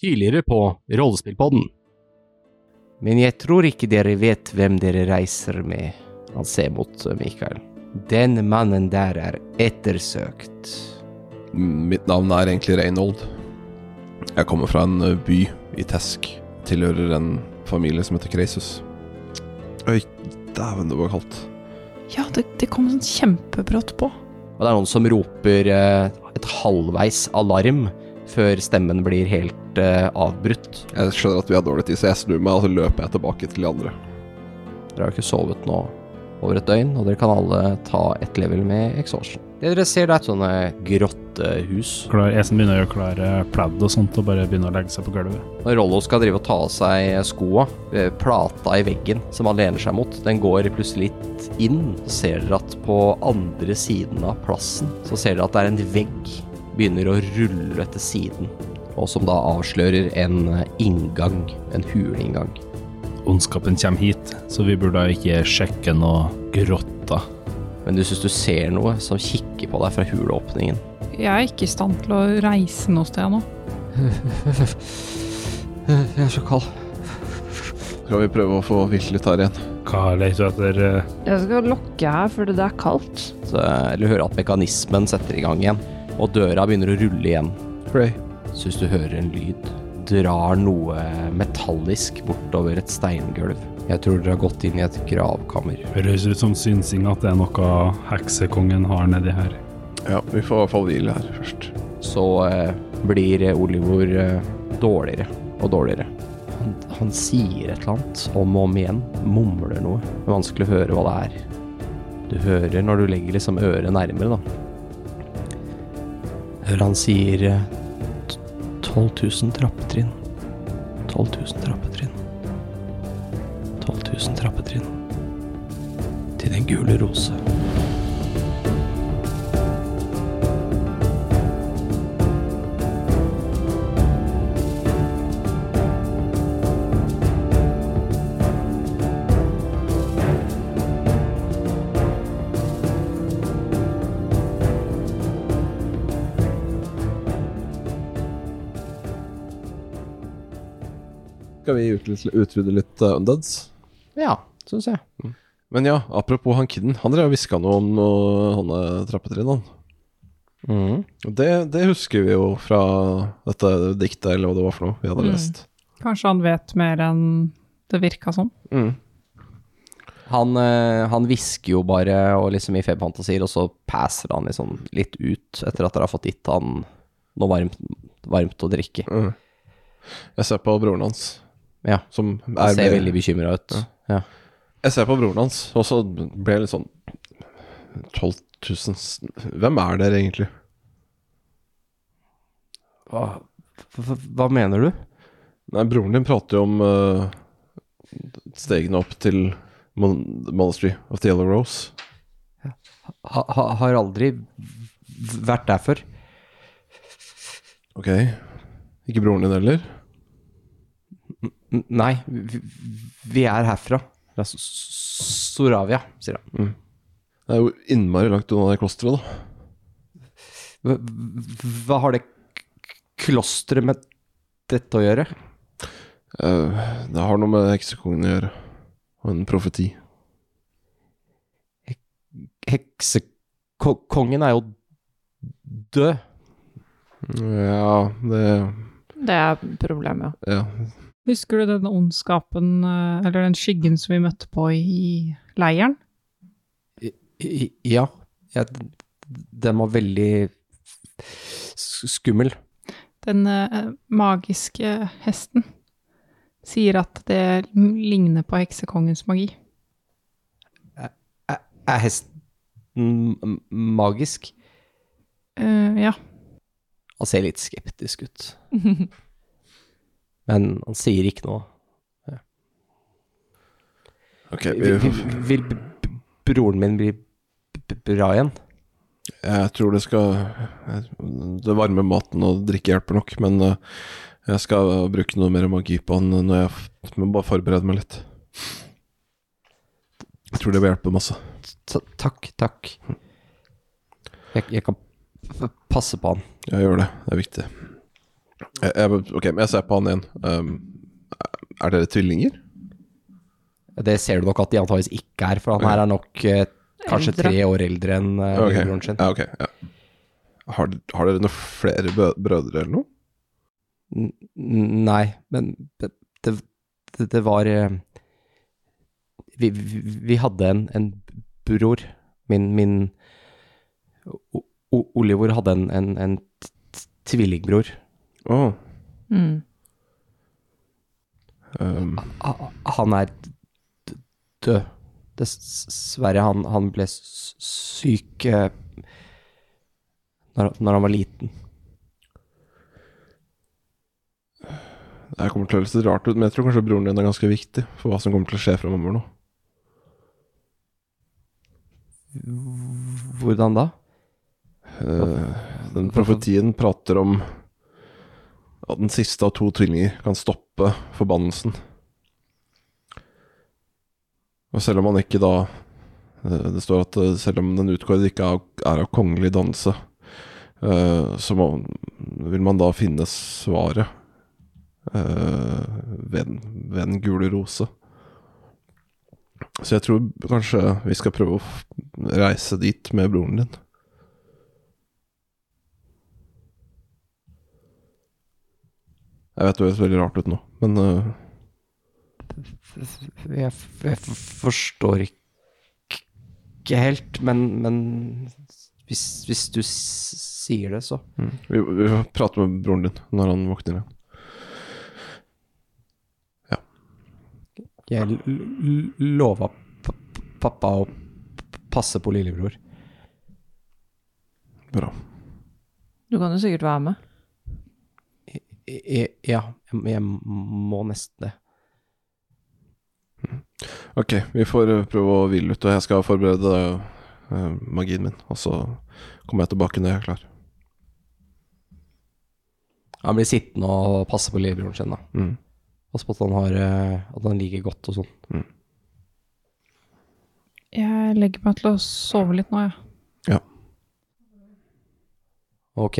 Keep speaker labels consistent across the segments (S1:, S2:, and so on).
S1: tidligere på Rollespillpodden.
S2: Men jeg tror ikke dere vet hvem dere reiser med. Han ser mot eh, Mikael. Den mannen der er ettersøkt.
S3: Mitt navn er egentlig Reynold. Jeg kommer fra en ø, by i Tesk. Tilhører en familie som heter Kreisus. Oi, dæven, det var kaldt.
S4: Ja, det, det kom sånn kjempebrått på.
S2: Og det er noen som roper eh, et halvveis alarm før stemmen blir helt eh, avbrutt.
S3: Jeg skjønner at vi har dårlig tid, så jeg snur meg og så løper jeg tilbake til de andre.
S2: Dere har jo ikke sovet nå over et døgn, og dere kan alle ta et level med exhaustion. Det dere ser, det er et sånne grottehus.
S5: Klar, Esen begynner å gjøre klar eh, pledd og sånt, og bare begynner å legge seg på gulvet.
S2: Når Rollo skal drive og ta av seg skoa, eh, plata i veggen som han lener seg mot, den går plutselig litt inn. Så ser dere at på andre siden av plassen, så ser dere at det er en vegg begynner å rulle til siden, og som da avslører en eh, inngang, en huleinngang.
S5: Ondskapen kommer hit, så vi burde da ikke sjekke noe grotta.
S2: Men du syns du ser noe som kikker på deg fra huleåpningen.
S4: Jeg er ikke i stand til å reise noe sted nå.
S2: Jeg er så kald.
S3: Skal vi prøve å få hvilt litt her igjen?
S5: Hva leter du etter? eh?
S6: Jeg skal lokke her, for det er kaldt.
S2: Så du hører at mekanismen setter i gang igjen, og døra begynner å rulle igjen.
S3: Pray.
S2: Syns du hører en lyd. Drar noe metallisk bortover et steingulv. Jeg tror dere har gått inn i et gravkammer.
S5: Det høres ut som synsing at det er noe heksekongen har nedi her.
S3: Ja, vi får i hvert fall hvile her først.
S2: Så eh, blir Olivor eh, dårligere og dårligere. Han, han sier et eller annet om og om igjen. Mumler noe. Det er vanskelig å høre hva det er. Du hører når du legger liksom øret nærmere, da. Hører han sier eh, t- 12 000 trappetrinn. 12 000 trappetrinn. 12 000 trappetrinn. Til den gule rose.
S3: Skal vi utlide- utrydde litt uh, undeads?
S2: Ja, syns jeg.
S3: Men ja, apropos han kidden. Han drev og hviska noe om noe sånne trappetrinn, han.
S2: Mm.
S3: Og Det, det husker vi jo fra dette diktet, eller hva det var for noe vi hadde
S4: Mm.
S3: lest.
S4: Kanskje han vet mer enn det virka som.
S3: Mm.
S2: Han, eh, han visker jo bare og liksom i feberfantasier, og så passer han liksom litt ut etter at dere har fått gitt han noe varmt, varmt å drikke.
S3: Mm. Jeg ser på broren hans,
S2: Ja,
S3: som
S2: Han
S3: er
S2: ser
S3: med
S2: veldig bekymra ut. Ja.
S3: Jeg ser på broren hans, og så ble jeg litt sånn 12 000 s- Hvem er dere egentlig?
S2: Hva, hva mener du?
S3: Nei, broren din prater jo om eh, stegene opp til Mon Monastery of the Yellow Rose.
S2: Ha, ha, har aldri v- vært der før.
S3: Ok. Ikke broren din heller?
S2: N- Nei, vi, vi er herfra. Fra S- S- Soravia, sier han.
S3: Det er jo innmari langt unna det klosteret, da.
S2: Hva, hva har det k- klosteret med dette å gjøre?
S3: Eh, det har noe med heksekongen å gjøre. Og en profeti.
S2: Heksekongen er jo død.
S3: Ja, det
S6: Det er problemet, ja.
S3: Ja,
S4: Husker du den ondskapen, eh, eller den skyggen som vi møtte på i leiren?
S2: I- Ja, ja d- den var veldig s- skummel.
S4: Den eh, magiske hesten sier at det ligner på heksekongens magi.
S2: Er- Er hesten m- magisk?
S4: Eh, ja.
S2: Han ser litt skeptisk ut, men han sier ikke noe.
S3: ok.
S2: Vil,
S3: Vi,
S2: vil- vil b- b- broren min bli b- b- bra igjen?
S3: jeg tror det skal Det varme maten og drikke hjelper nok, men eh, jeg skal bruke noe mer magi på han når jeg f- må bare forberede meg litt. Jeg tror det vil hjelpe masse.
S2: Ta- Takk, takk. Jeg, jeg kan p- passe på han.
S3: Ja, gjør det. Det er viktig. Jeg, jeg, ok, men jeg ser på han igjen. Um, er dere tvillinger?
S2: Det ser du nok at de antageligvis ikke er, for han her er nok eh, kanskje
S6: Eldre.
S2: tre år eldre enn eh,
S3: Ok.
S2: broren sin.
S3: Ja, ok. Ja. Har, har dere noen flere bø brødre eller noe?
S2: N- Nei, men det, det, det- det var eh, Vi, vi vi hadde en, en bror. Min, min O- O- Oliver hadde en, en, en t- t- tvillingbror.
S3: Å,
S6: Mm.
S3: um,
S2: Ha- Han er d- d- død. Dessverre, han, han ble s- syk eh, når, når han var liten.
S3: det her kommer til å høres litt rart ut, men jeg tror kanskje broren din er ganske viktig for hva som kommer til å skje framover nå.
S2: Hvordan da?
S3: Eh, den profetien prater om at den siste av to tvillinger kan stoppe forbannelsen. Og selv om han ikke da eh, Det står at eh, selv om den utkårede ikke er av- er av kongelig danse, eh, så må, vil man da finne svaret eh, ved, den- ved den gule rose. Så jeg tror kanskje vi skal prøve å f- reise dit med broren din. Jeg vet det høres veldig rart ut nå, men øh,
S2: Jeg, f- jeg f- forstår ikk- ikke helt, men, men hvis, hvis du s- sier det, så
S3: vi, vi får prate med broren din når han våkner igjen.
S2: Jeg l- l- lova p- p- pappa å p- passe på lillebror.
S3: Bra.
S6: Du kan jo sikkert være med.
S2: Jeg, jeg, ja, jeg, jeg må nesten det.
S3: Ok, vi får øh, prøve å hvile ut, og jeg skal forberede øh, magien min. Og så kommer jeg tilbake når jeg er klar.
S2: Han blir sittende og passe på lillebroren sin, da.
S3: Mm.
S2: Passe på at han, har, eh, at han liker godt og sånn.
S4: Jeg legger meg til å sove litt nå, jeg.
S2: Ok.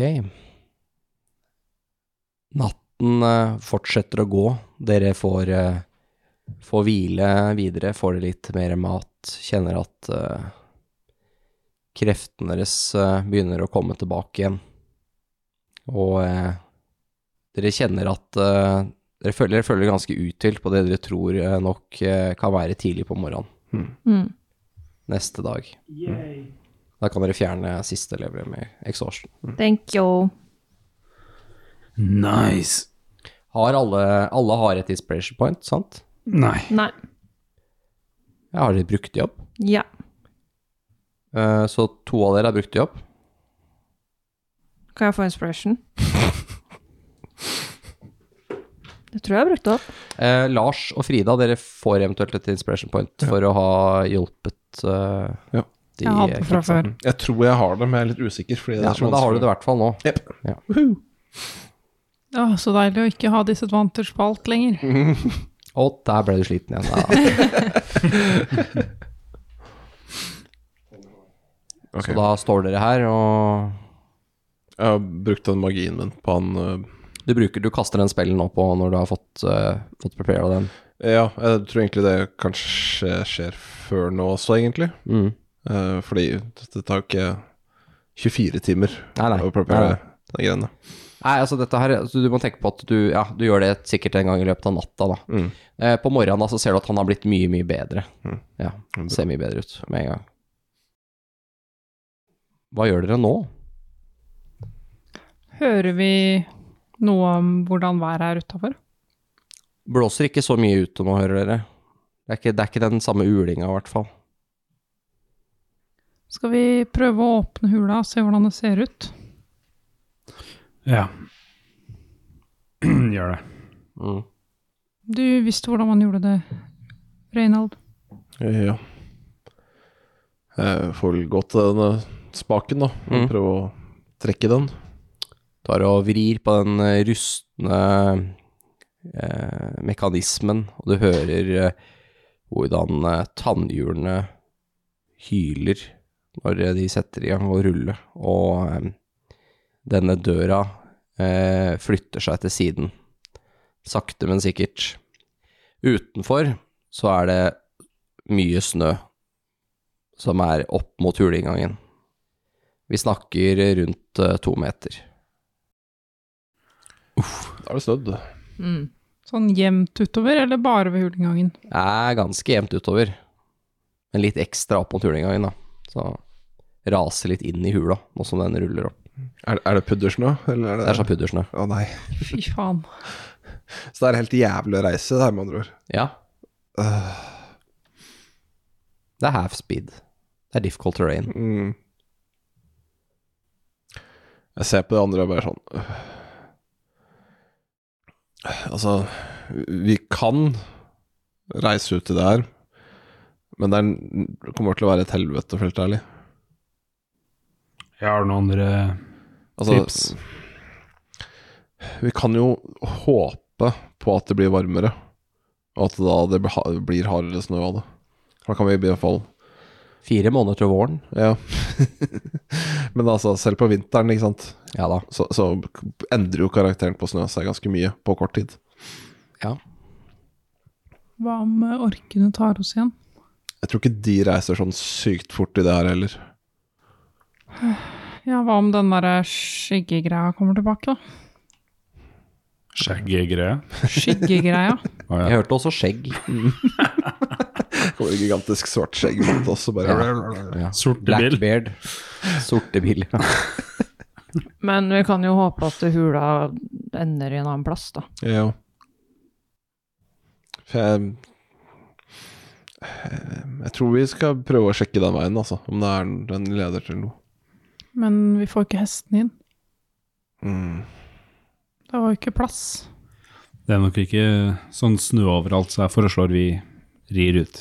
S2: Natten eh, fortsetter å gå. Dere får, eh, får hvile videre, får litt mer mat, kjenner at eh, kreftene deres eh, begynner å komme tilbake igjen. Og eh, dere kjenner at eh, dere, føler, dere føler ganske uthvilt på det dere tror eh, nok eh, kan være tidlig på morgenen
S6: Mm.
S2: neste dag. Mm. Da kan dere fjerne siste level med exhaustion.
S6: Thank you.
S5: Nice.
S2: Har alle, alle har et inspiration point, sant?
S5: Nei.
S6: Nei.
S2: Jeg har litt brukt de opp.
S6: Ja.
S2: Eh, Så to av dere har brukt de opp.
S6: Kan jeg få inspiration? Det tror jeg jeg brukte opp.
S2: Eh, Lars og Frida, dere får eventuelt et inspiration point for å ha hjulpet eh,
S3: Ja.
S2: de
S4: Jeg hadde det fra før.
S3: Jeg tror jeg har det, men jeg er litt usikker. Fordi det
S2: Ja,
S3: er så
S2: men da har du
S3: vanskelig.
S2: det i hvert fall nå.
S3: Jep.
S4: Å, så deilig å ikke ha disadvantage på alt lenger.
S2: Og der ble du sliten igjen. Da.
S3: Ok.
S2: Så da står dere her, og
S3: Jeg har brukt den magien min på han øh,
S2: du, bruker, du kaster den spellen nå på når du har fått, uh, fått prepara den.
S3: eh, Ja, jeg tror egentlig det kanskje skjer før nå også, egentlig.
S2: Mm.
S3: Eh, fordi det tar ikke 24 timer
S2: Nei, nei.
S3: å
S2: Nei,
S3: prepare
S2: nei.
S3: de greiene.
S2: Nei, altså dette her, altså, du må tenke på at du, ja, du gjør det sikkert en gang i løpet av natta. da.
S3: Mm.
S2: Eh, på morgenen da, så ser du at han har blitt mye, mye bedre.
S3: Mm.
S2: Ja, Ser mye bedre ut med en gang. Hva gjør dere nå?
S4: Hører vi noe om hvordan været er utafor?
S2: Blåser ikke så mye ute nå, hører dere. Det er ikke, det er ikke den samme ulinga, i hvert fall.
S4: Skal vi prøve å åpne hula og se hvordan det ser ut?
S5: Ja. Gjør det.
S2: Mm.
S4: Du visste hvordan man gjorde det, Reinald.
S3: Ja. Jeg får vel gå til denne spaken, da. og
S2: Mm.
S3: Prøve å trekke den.
S2: Tar og vrir på den eh, rustne eh, mekanismen, og du hører eh, hvordan eh, tannhjulene hyler når eh, de setter i gang å rulle, og eh, denne døra eh, flytter seg til siden. Sakte, men sikkert. Utenfor så er det mye snø som er opp mot huleinngangen. Vi snakker rundt eh, to meter.
S3: Da er det snødd.
S6: Mm.
S4: Sånn jevnt utover, eller bare ved hulinngangen?
S2: Det er ganske jevnt utover, men litt ekstra opp mot huleinngangen, da. Så raser litt inn i hula, nå som den ruller opp.
S3: Er, er det puddersnø, eller er sånn det
S2: Det er så puddersnø.
S3: Å nei.
S4: Fy faen.
S3: Så det er helt jævlig å reise, det her, med andre ord.
S2: Ja. Det er half speed. Det er difficult terrain.
S3: Mm. Jeg ser på de andre og bare sånn øh. Altså, vi kan reise ut i det her, men det er, det kommer til å være et helvete, for å være helt ærlig.
S5: Jeg har noen andre
S3: Altså,
S5: tips.
S3: Vi kan jo håpe på at det blir varmere, og at da det blir ha- blir hardere snø av det. Da kan vi i hvert fall
S2: Fire måneder til våren.
S3: Ja. Men altså, selv på vinteren, ikke sant,
S2: Ja da.
S3: så, så endrer jo karakteren på snø seg ganske mye på kort tid.
S2: Ja.
S4: Hva om eh, orkene tar oss igjen?
S3: Jeg tror ikke de reiser sånn sykt fort i det her heller.
S4: Ja, hva om den derre skyggegreia kommer tilbake, da?
S5: Skjeggegreie.
S4: Skyggegreia.
S5: Å
S2: Jeg
S5: ja.
S2: hørte også skjegg.
S3: Det kommer et gigantisk svart skjegg mot oss og bare
S2: Ja.
S5: Sorte bil.
S2: Blackbeard. Sorte bil.
S6: Men vi kan jo håpe at hula ender i en annen plass, da.
S3: Ja. For jeg Jeg tror vi skal prøve å sjekke den veien, altså. Om det er den leder til noe.
S4: Men vi får ikke hestene inn.
S3: Mm.
S4: Det var jo ikke plass.
S5: Det er nok ikke sånn snø overalt, så jeg foreslår vi rir ut.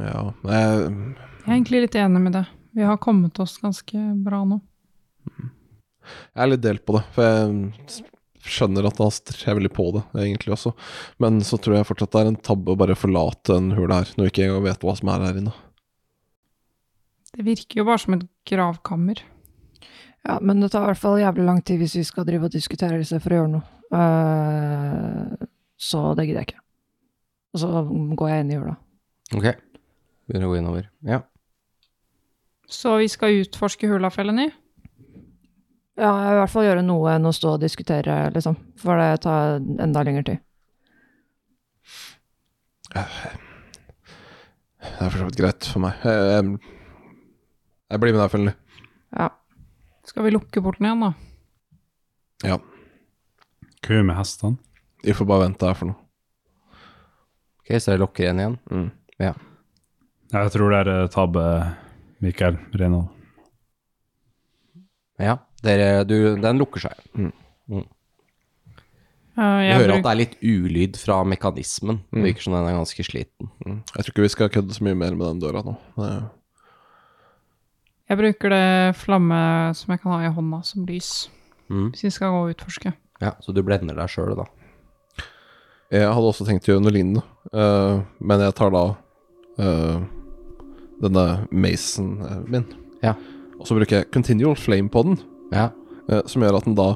S3: Ja. Jeg,
S4: Jeg er egentlig litt enig med det. Vi har kommet oss ganske bra nå.
S3: jeg er litt delt på det, for jeg skjønner at han strever veldig på det, egentlig også. Men så tror jeg fortsatt det er en tabbe å bare forlate den hula her, når vi ikke engang vet hva som er her inne.
S4: Det virker jo bare som et gravkammer.
S6: Ja, men det tar i hvert fall jævlig lang tid hvis vi skal drive og diskutere disse for å gjøre noe. Eh, så det gidder jeg ikke. Og så går jeg inn i hula.
S2: Ok. Begynner å gå innover. Ja.
S4: Så vi skal utforske hulafellen i.
S6: Ja, jeg vil i hvert fall gjøre noe enn å stå og diskutere, liksom. For det tar enda lengre tid.
S3: Det er for så vidt greit for meg. Jeg, jeg, jeg blir med deg, Følgelig.
S6: Ja.
S4: Skal vi lukke porten igjen, da?
S3: Ja.
S5: Hva gjør vi med hestene?
S3: Vi får bare vente her for noe.
S2: Ok, så jeg lukker igjen igjen.
S5: Jeg tror det er eh, tabbe, Mikael Reynold.
S2: Ja. Dere, du, den lukker seg.
S4: Eh,
S2: Vi
S4: jeg
S2: hører at
S4: bruk-
S2: det er litt ulyd fra mekanismen. Det virker som den er ganske sliten.
S3: Mm. Jeg tror ikke vi skal kødde så mye mer med den døra nå. Det-
S4: Jeg bruker det flamme som jeg kan ha i hånda som lys,
S2: Mm.
S4: hvis vi skal gå og utforske.
S2: Ja, så du blender deg sjøl, da.
S3: Jeg hadde også tenkt å gjøre noe lignende, eh, men jeg tar da eh, denne macen eh, min.
S2: Ja.
S3: Og så bruker jeg continual flame på den,
S2: Ja.
S3: eh, som gjør at den da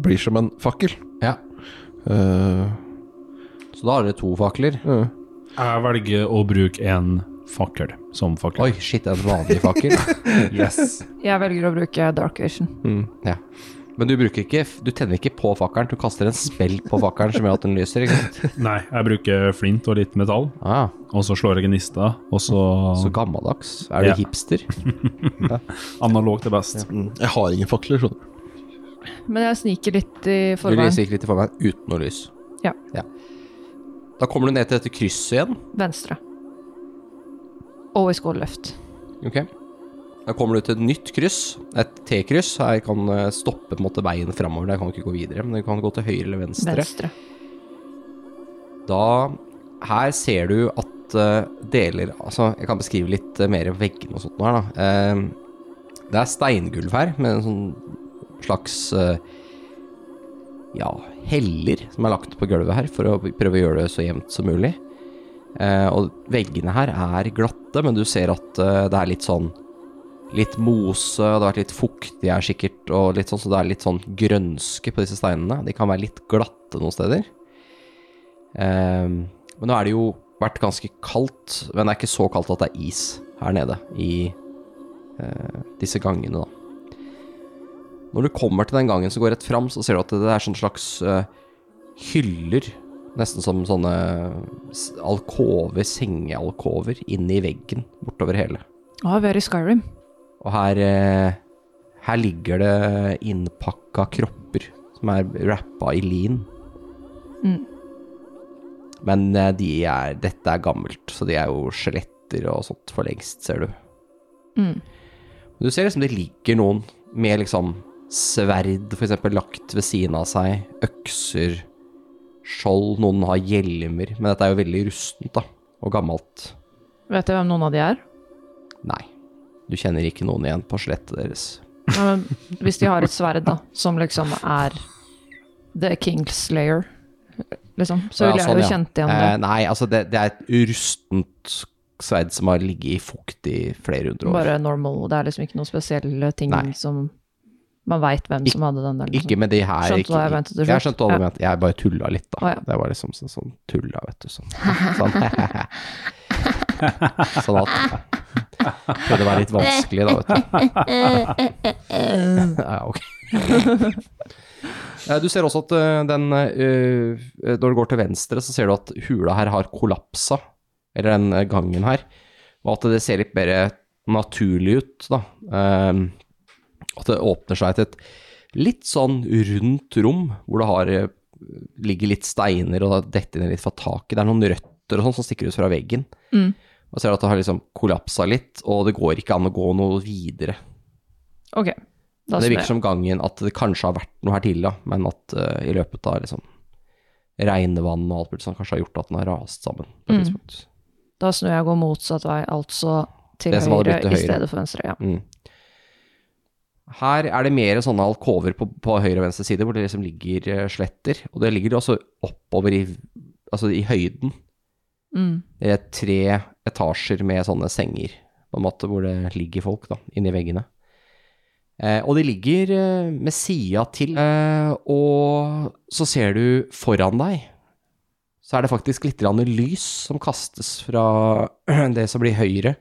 S3: blir som en fakkel.
S2: ja.
S3: Eh,
S2: Så da har dere to fakler.
S3: eh.
S5: Jeg velger å bruke en fakkel som fakkel.
S2: Oi, shit, en vanlig fakkel.
S5: yes.
S6: Jeg velger å bruke dark vision.
S2: Ja. Men du bruker ikke Du tenner ikke på fakkelen, du kaster en spell på fakkelen som gjør at den lyser, ikke sant?
S5: Nei, jeg bruker flint og litt metall,
S2: Ah,
S5: og så slår jeg gnister, og så
S2: så gammeldags. Er du
S5: Ja.
S2: hipster?
S5: analogt er best.
S3: Mm, Jeg har ingen fakler, skjønner du.
S6: Men jeg sniker litt i
S2: Du
S6: forveien.
S2: lyser ikke litt for meg uten noe lys.
S6: Ja.
S2: Da kommer du ned til dette krysset igjen.
S6: Venstre. Always go left.
S2: Ok. Da kommer du til et nytt kryss. Et T-kryss. Her kan eh, stoppe på en måte veien framover. Der kan du ikke gå videre, men du kan gå til høyre eller venstre.
S6: Venstre.
S2: Da Her ser du at eh, deler Altså, jeg kan beskrive litt eh, mer veggene og sånt nå her, da. Eh, det er steingulv her, med en sånn slags eh, Ja, heller som er lagt på gulvet her, for å prøve å gjøre det så jevnt som mulig. Eh, og veggene her er glatte, men du ser at eh, det er litt sånn litt mose, og det har vært litt fuktig her sikkert, og litt sånn, så det er litt sånn grønske på disse steinene. De kan være litt glatte noen steder. Ehm, men nå er det jo vært ganske kaldt, men det er ikke så kaldt at det er is her nede i eh, disse gangene, da. Når du kommer til den gangen som går rett fram, så ser du at det er sånn slags eh, hyller, nesten som sånne s- alkover, sengealkover, inni veggen bortover hele.
S6: Ja, vi er i Skyrim.
S2: Og her, eh, her ligger det innpakka kropper som er rappa i lin.
S6: Mm.
S2: Men eh, de er, dette er gammelt, så de er jo skjeletter og sånt for lengst, ser du.
S6: Mm.
S2: Men Du ser liksom det ligger noen med liksom sverd for eksempel lagt ved siden av seg, økser, skjold, noen har hjelmer, men dette er jo veldig rustent da, og gammelt.
S6: Vet jeg hvem noen av de er?
S2: Nei, du kjenner ikke noen igjen på skjelettet deres.
S6: Ja, men hvis de har et sverd, da, som liksom er The Kingslayer, liksom, så
S2: Ja,
S6: ville jeg jo
S2: sånn, ja.
S6: kjent igjen
S2: Eh,
S6: det.
S2: nei, altså det, det er et rustent sverd som har ligget i fukt i flere hundre år.
S6: Bare normal. Det er liksom ikke noen spesielle ting
S2: Nei.
S6: som Man veit hvem som hadde den der. Liksom.
S2: Ikke med de her.
S6: Skjønte
S2: ikke,
S6: hva jeg mente til
S2: Jeg
S6: slutt.
S2: skjønte hva du
S6: Ja.
S2: mente. Jeg bare tulla litt, da.
S6: Å, ja.
S2: Det var liksom sånn, sånn tulla, vet du. Sånn. Sånn, sånn at Prøvde å være litt vanskelig, da, vet du. ja, ok. Eh, Du ser også at eh, den eh, eh, Når du går til venstre, så ser du at hula her har kollapsa. Eller den eh, gangen her. Og at det ser litt mer naturlig ut, da. Eh, at det åpner seg til et litt sånn rundt rom, hvor det har, eh, ligger litt steiner og det detter ned litt fra taket. Det er noen røtter og sånn som stikker ut fra veggen.
S4: Mm.
S2: Og ser at det har liksom kollapsa litt, og det går ikke an å gå noe videre.
S6: Ok, da
S2: det
S6: snur
S2: virker
S6: jeg.
S2: som gangen at det kanskje har vært noe her tidligere, men at eh, i løpet av liksom regnevann og alt mulig sånn kanskje har gjort at den har rast sammen. på et
S6: Mm.
S2: tidspunkt.
S6: Da snur jeg og går motsatt vei, altså til
S2: Det som hadde
S6: høyre,
S2: blitt til
S6: i
S2: høyre.
S6: stedet for venstre. Ja.
S2: Mm. Her er det mer sånne alkover på, på høyre og venstre side, hvor det liksom ligger eh, sletter. Og det ligger også oppover i, altså i høyden.
S6: Mm.
S2: Det er tre etasjer med sånne senger, på en måte, hvor det ligger folk da, inni veggene. Eh, og de ligger eh, med sida til, eh, og så ser du foran deg, så er det faktisk litt grann lys som kastes fra det som blir høyre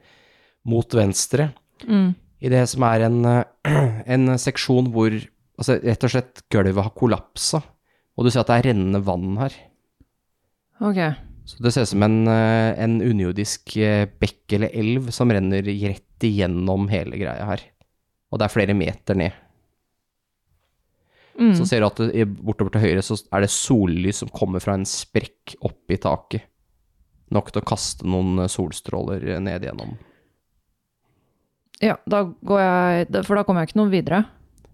S2: mot venstre,
S6: Mm.
S2: i det som er en, eh, en seksjon hvor altså, rett og slett gulvet har kollapsa, og du ser at det er rennende vann her.
S6: Ok.
S2: Så det ser ut som en, eh, en underjordisk eh, bekk eller elv som renner rett igjennom hele greia her. Og det er flere meter ned.
S6: Mm.
S2: Så ser du at det, i- bortover til høyre så er det sollys som kommer fra en sprekk oppi taket. Nok til å kaste noen eh, solstråler eh, ned igjennom.
S6: Ja, da går jeg da- For da kommer jeg ikke noe videre.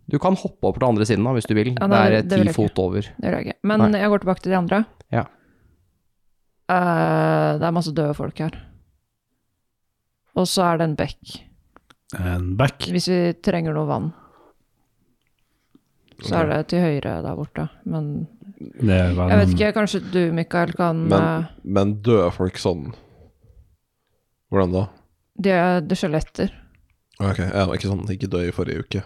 S2: Du kan hoppe opp til andre siden da, hvis du vil.
S6: Ja,
S2: det er eh,
S6: nei, det
S2: ti
S6: vil jeg ikke.
S2: fot over.
S6: Det gjør jeg ikke. Men
S2: Nei.
S6: jeg går tilbake til de andre.
S2: Ja.
S6: Eh, det er masse døde folk her. Og så er det en bekk.
S5: En back.
S6: Hvis vi trenger noe vann. Så er det til høyre der borte. Men
S5: Det er vel
S6: jeg vet ikke, kanskje du, Mikael, kan
S3: Men-
S6: eh,
S3: Men døde folk sånn Hvordan da?
S6: De er de er skjeletter.
S3: Ok, ja, Ikke sånn ikke død i forrige uke.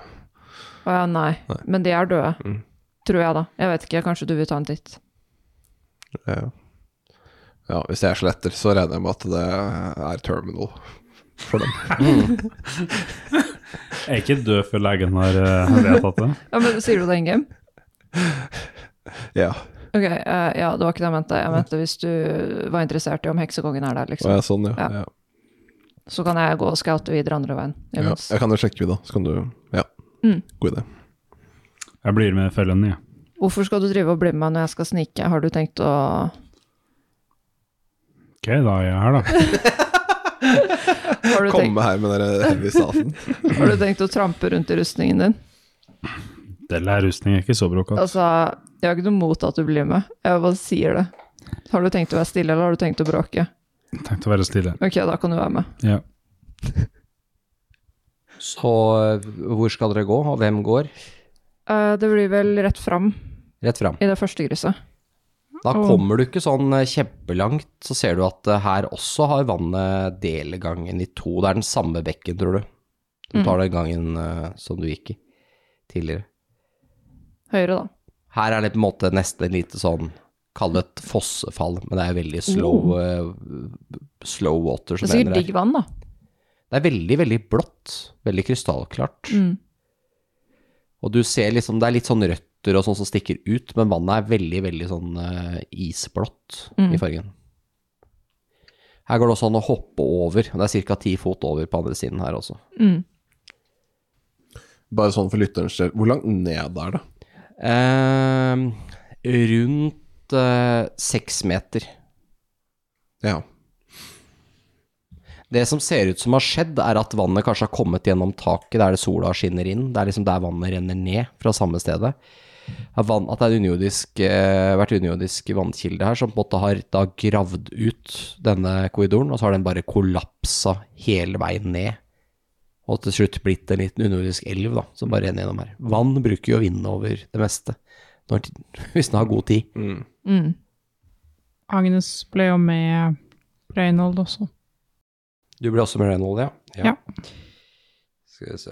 S6: Å ja, nei.
S3: Nei.
S6: Men de er døde.
S3: Mm.
S6: Tror jeg, da. Jeg vet ikke, kanskje du vil ta en titt.
S3: Ja, ja. ja, hvis det er skjeletter, så regner jeg med at det er terminal for dem.
S5: Jeg er ikke død før legen har eh, vedtatt det.
S6: Ja, men Sier du det in game?
S3: Ja,
S6: Ok, eh, ja, det var ikke det jeg mente. Jeg mente hvis du var interessert i om heksekongen er der,
S3: og jeg
S6: liksom.
S3: er sånn, ja.
S6: Ja.
S3: ja.
S6: Så kan jeg gå og scoute videre andre veien.
S3: ja.
S6: imens.
S3: Jeg kan jo sjekke, da. Så kan du Ja,
S6: Mm.
S3: god idé.
S5: Jeg blir med følgen, jeg.
S6: Hvorfor skal du drive og bli med meg når jeg skal snike? Har du tenkt å
S5: Ok, da er jeg her, da.
S6: Har du tenkt,
S3: Komme her med den heavy staten.
S6: har du tenkt å trampe rundt i rustningen din?
S5: Del av rustning er ikke så brokat.
S6: Altså, jeg har ikke noe mot at du blir med, jeg bare sier det. Har du tenkt å være stille, eller har du tenkt å bråke?
S5: Tenkte å være stille.
S6: Ok, da kan du være med.
S5: Ja.
S2: Så eh, hvor skal dere gå, og hvem går?
S6: Eh, det blir vel rett fram
S2: Rett fram.
S6: i det første griset.
S2: Da
S4: Åh.
S2: kommer du ikke sånn eh, kjempelangt, så ser du at eh, her også har vannet delegangen i to. Det er den samme bekken, tror du. Du tar
S4: Mhm.
S2: den gangen eh, som du gikk i tidligere.
S4: Høyre, da.
S2: Her er det på en måte nesten et lite sånn Kall det et fossefall, men det er veldig slow, eh, slow water.
S4: Det
S2: Som
S4: er sikkert
S2: det,
S4: digg vann, da.
S2: det er veldig, veldig blått. Veldig krystallklart.
S4: Mm.
S2: Og du ser liksom, det er litt sånn røtter og sånn som stikker ut, men vannet er veldig, veldig sånn eh, isblått i fargen. Her går det også an å hoppe over. Det er ca. ti fot over på andre siden her også.
S3: Bare sånn for lytterens del. Hvor langt ned er det?
S2: Eh, rundt eh, seks meter.
S3: Ja.
S2: Det som ser ut som har skjedd, er at vannet kanskje har kommet gjennom taket der det sola skinner inn. Det er liksom der vannet renner ned fra samme stedet. At vann- at det har unijordisk, eh, vært unijordisk vannkilde her som på en måte har da gravd ut denne korridoren, og så har den bare kollapsa hele veien ned. Og til slutt blitt en liten unijordisk elv da, som bare renner gjennom her. Vann bruker jo å vinne over det meste, når, hvis den har god tid.
S3: Mm.
S6: Mm.
S4: Agnes ble jo med Reynold også.
S2: Du ble også med Reynold, ja?
S4: Ja.
S2: Skal vi se.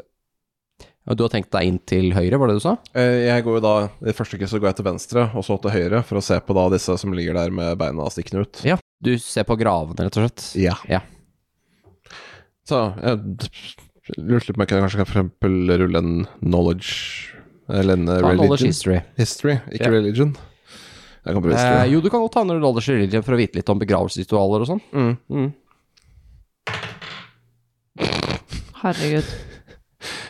S2: Ja, du har tenkt deg inn til høyre, var det du sa?
S3: Eh, Jeg går jo da, I første ikke så går jeg til venstre, og så til høyre, for å se på da disse som ligger der med beina stikkende ut.
S2: Ja, du ser på gravene, rett og slett.
S3: Ja.
S2: Ja.
S3: Så jeg d- lurte litt på om jeg kunne kanskje for eksempel rulle en knowledge Eller en eh,
S2: Ta knowledge
S3: religion.
S2: history.
S3: History, ikke
S2: Ja.
S3: religion. Jeg kan prøve
S2: Eh,
S3: history.
S2: jo, du kan godt ta en knowledge religion for å vite litt om begravelsesritualer og sånn.
S3: Mm.
S2: Mm.
S6: Herregud.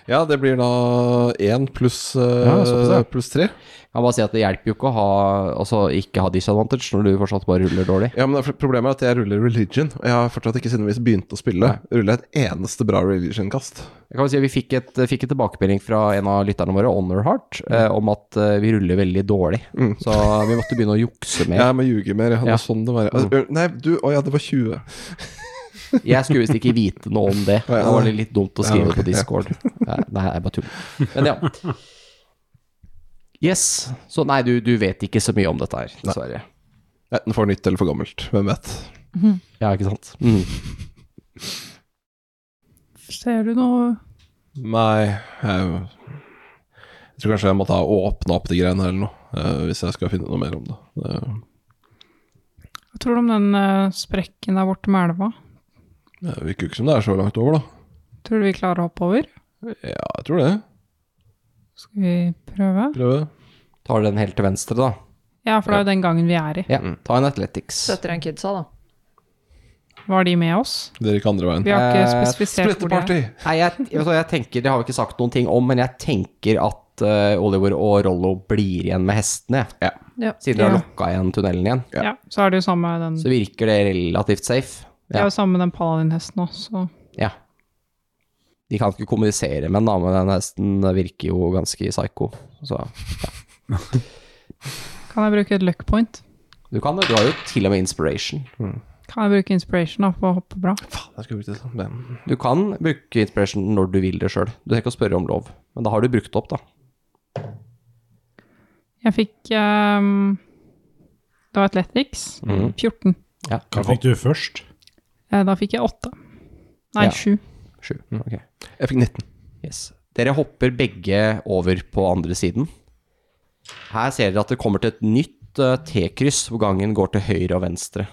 S3: Ja, det blir da én pluss, eh,
S2: Ja, såpass, ja.
S3: pluss tre.
S2: Jeg kan bare si at det hjelper jo ikke å ha, altså, ikke ha disadvantage når du fortsatt bare ruller dårlig.
S3: Ja, men det er- Problemet er at jeg ruller religion, og jeg har fortsatt ikke siden vi begynte å spille, rulla et eneste bra religion-kast.
S2: Jeg kan vel si at Vi fikk, et, fikk en tilbakemelding fra en av lytterne våre, Honor Heart, eh, om at eh, vi ruller veldig dårlig.
S3: Mm.
S2: Så vi måtte begynne å jukse mer.
S3: Jeg må ljuge mer. Ja. Det
S2: Ja. Mm.
S3: var sånn det var. Altså, Nei, du Å ja, det var 20.
S2: Jeg skulle visst ikke vite noe om det.
S3: Å, ja.
S2: Det var litt dumt å
S3: Ja,
S2: skrive
S3: ok,
S2: på Discord. Nei, Nei, jeg bare tuller. Men ja. Yes. Så nei, du, du vet ikke så mye om dette her, dessverre.
S3: Enten for nytt eller for gammelt. Hvem vet.
S2: Ja, ikke sant? Mm.
S4: Ser du noe
S3: Nei, jeg, jeg tror kanskje jeg måtte ha åpna opp de greiene eller noe, eh, hvis jeg skal finne noe mer om det. det
S4: Hva tror du om den eh, sprekken der borte med elva?
S3: det virker jo ikke som det er så langt over, da.
S4: Tror du vi klarer å hoppe over?
S3: Ja, jeg tror det.
S4: Skal vi prøve?
S3: Prøve.
S2: Tar den helt til venstre, da.
S4: Ja, for det er jo den gangen vi er i.
S2: Ja,
S3: Mm.
S2: ta en Athletics.
S6: Søtere enn kidsa, da.
S4: Var de med oss?
S3: Det gikk andre veien.
S4: Vi har ikke
S2: Eh,
S4: spesifisert hvor de er.
S3: Splitteparty!
S2: Nei, jeg, jeg, vet hva, jeg tenker, det har vi ikke sagt noen ting om, men jeg tenker at eh, Oliver og Rollo blir igjen med hestene, jeg.
S6: Ja.
S2: siden de har
S4: Ja.
S2: lokka igjen tunnelen igjen.
S4: Ja. så er det jo samme den
S2: Så virker det relativt safe.
S4: Det er jo samme den paladinhesten òg, så
S2: Ja. De kan ikke kommunisere med den, da, men den hesten virker jo ganske psycho. Så
S4: kan jeg bruke et luck point.
S2: du kan det. Du har jo til og med inspiration.
S4: Kan jeg bruke inspiration da, for å hoppe bra?
S3: Faen, jeg skulle brukt det sånn. men-
S2: Du kan bruke inspiration når du vil det sjøl. Du trenger ikke å spørre om lov. Men da har du brukt det opp, da.
S4: Jeg fikk ehm, Det var Athletics.
S2: Mm.
S4: 14.
S2: Ja.
S5: Hva fikk du først?
S4: Eh, Da fikk jeg 8. Nei,
S2: Ja.
S4: 7.
S2: Sju. Ok.
S3: Jeg fikk 19.
S2: Yes. Dere hopper begge over på andre siden. Her ser dere at det kommer til et nytt eh, T-kryss, hvor gangen går til høyre og venstre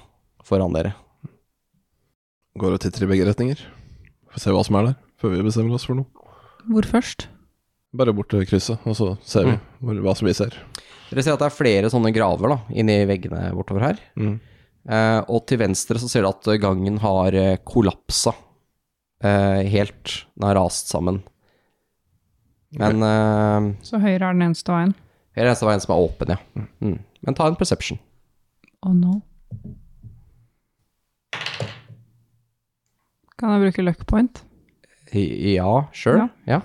S2: foran dere.
S3: Går og titter i begge retninger. Får se hva som er der, før vi bestemmer oss for noe.
S4: Hvor først?
S3: Bare bort til krysset, og så ser vi hvor, hva som vi ser.
S2: Dere ser at det er flere sånne graver da, inni veggene bortover her. Eh, og til venstre så ser du at gangen har eh, kollapsa eh, helt. Den har rast sammen. Men eh,
S4: Så høyre er den eneste veien.
S2: her er det eneste veien som er åpen, ja. Mm. Men ta en perception.
S4: Oh no. Kan jeg bruke luck point?
S2: I, ja, sure. Ja.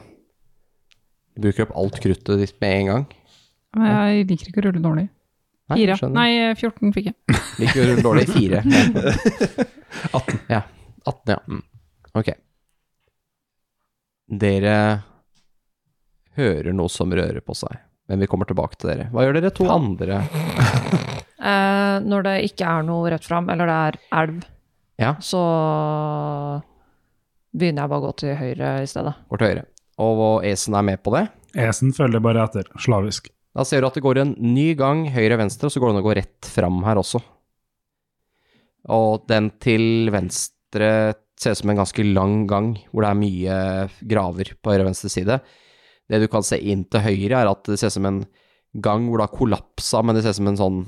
S2: Du bruker opp alt kruttet ditt med en gang.
S4: Men jeg liker ikke å rulle dårlig. Fire.
S2: skjønner.
S4: Nei, 14 fikk jeg.
S2: Liker du dårlig fire? 18. Ja. 18, ja. Mm. Ok. Dere hører noe som rører på seg, men vi kommer tilbake til dere. Hva gjør dere to andre?
S6: Eh, når det ikke er noe rett fram, eller det er elv,
S2: Ja.
S6: så begynner jeg bare å gå til høyre i stedet.
S2: Går til høyre. Og Acen er med på det.
S5: Esen følger bare etter, slavisk.
S2: Da ser du at det går en ny gang høyre-venstre, og så går det an å gå rett fram her også. Og den til venstre ser ut som en ganske lang gang, hvor det er mye graver på høyre-venstre side. Det du kan se inn til høyre, er at det ser ut som en gang hvor det har kollapsa, men det ser ut som en sånn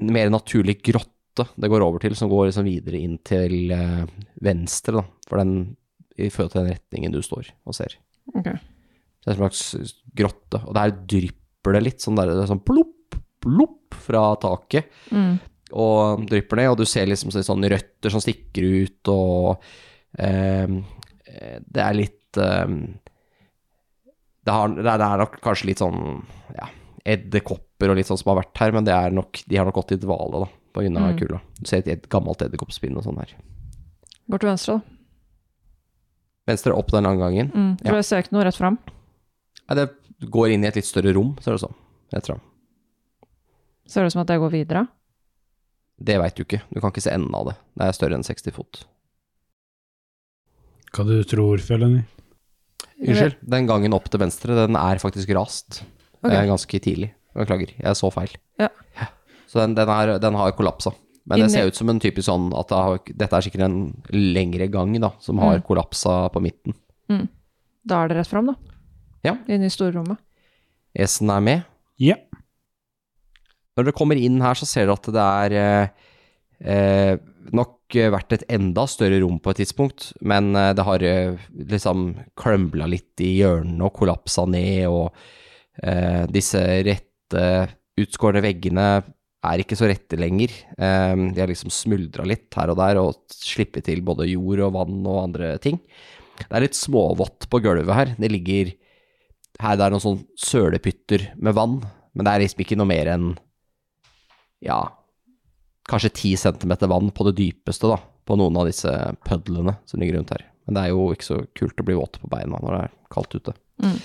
S2: mer naturlig grotte det går over til, som går liksom videre inn til eh, venstre, da, for den, i forhold til den retningen du står og ser. Det er en slags grotte, og der drypper det litt, sånn der, det er sånn plopp, plopp fra taket,
S6: Mm.
S2: og drypper ned, og du ser liksom sånn røtter som stikker ut, og eh, det er litt eh, det, har, det, er, det er nok kanskje litt sånn, ja, edderkopper og litt sånn som har vært her, men det er nok, de har nok gått i dvale da, på grunn av
S6: Mm.
S2: kula. Du ser et, ed- gammelt edderkoppspinn og sånn her.
S6: Går til venstre, da.
S2: Venstre opp den lange gangen.
S6: Mm.
S2: Ja.
S6: For jeg ser ikke noe rett fram.
S2: Nei, det går inn i et litt større rom, ser det sånn, rett frem.
S6: Ser det ut som at jeg går videre.
S2: Det veit du ikke. Du kan ikke se enden av det. Det er større enn 60 fot.
S5: Hva du tror, Fjelleny?
S2: Unnskyld. Den gangen opp til venstre, den er faktisk rast.
S6: Ok.
S2: Det er ganske tidlig. Beklager, jeg så feil.
S6: Ja.
S2: Så den, den, er, den har kollapsa. Men det
S6: Inni-
S2: ser ut som en typisk sånn at det har, dette er sikkert en lengre gang da, som har
S6: Mm.
S2: kollapsa på midten.
S6: Da er det rett fram, da.
S2: Ja.
S6: Inne i storrommet.
S2: Esen er med.
S5: Ja.
S2: Når dere kommer inn her, så ser dere at det er eh, eh, nok eh, vært et enda større rom på et tidspunkt, men eh, det har eh, liksom klømbla litt i hjørnene og kollapsa ned, og eh, disse rette, utskårne veggene er ikke så rette lenger. Eh, de har liksom smuldra litt her og der, og slippet til både jord og vann og andre ting. Det er litt småvått på gulvet her. Det ligger her det er noen sånn sølepytter med vann, men det er liksom ikke noe mer enn ja, kanskje 10 centimeter vann på det dypeste da, på noen av disse pødlene som ligger rundt her. Men det er jo ikke så kult å bli våt på beina når det er kaldt ute.
S6: Mm.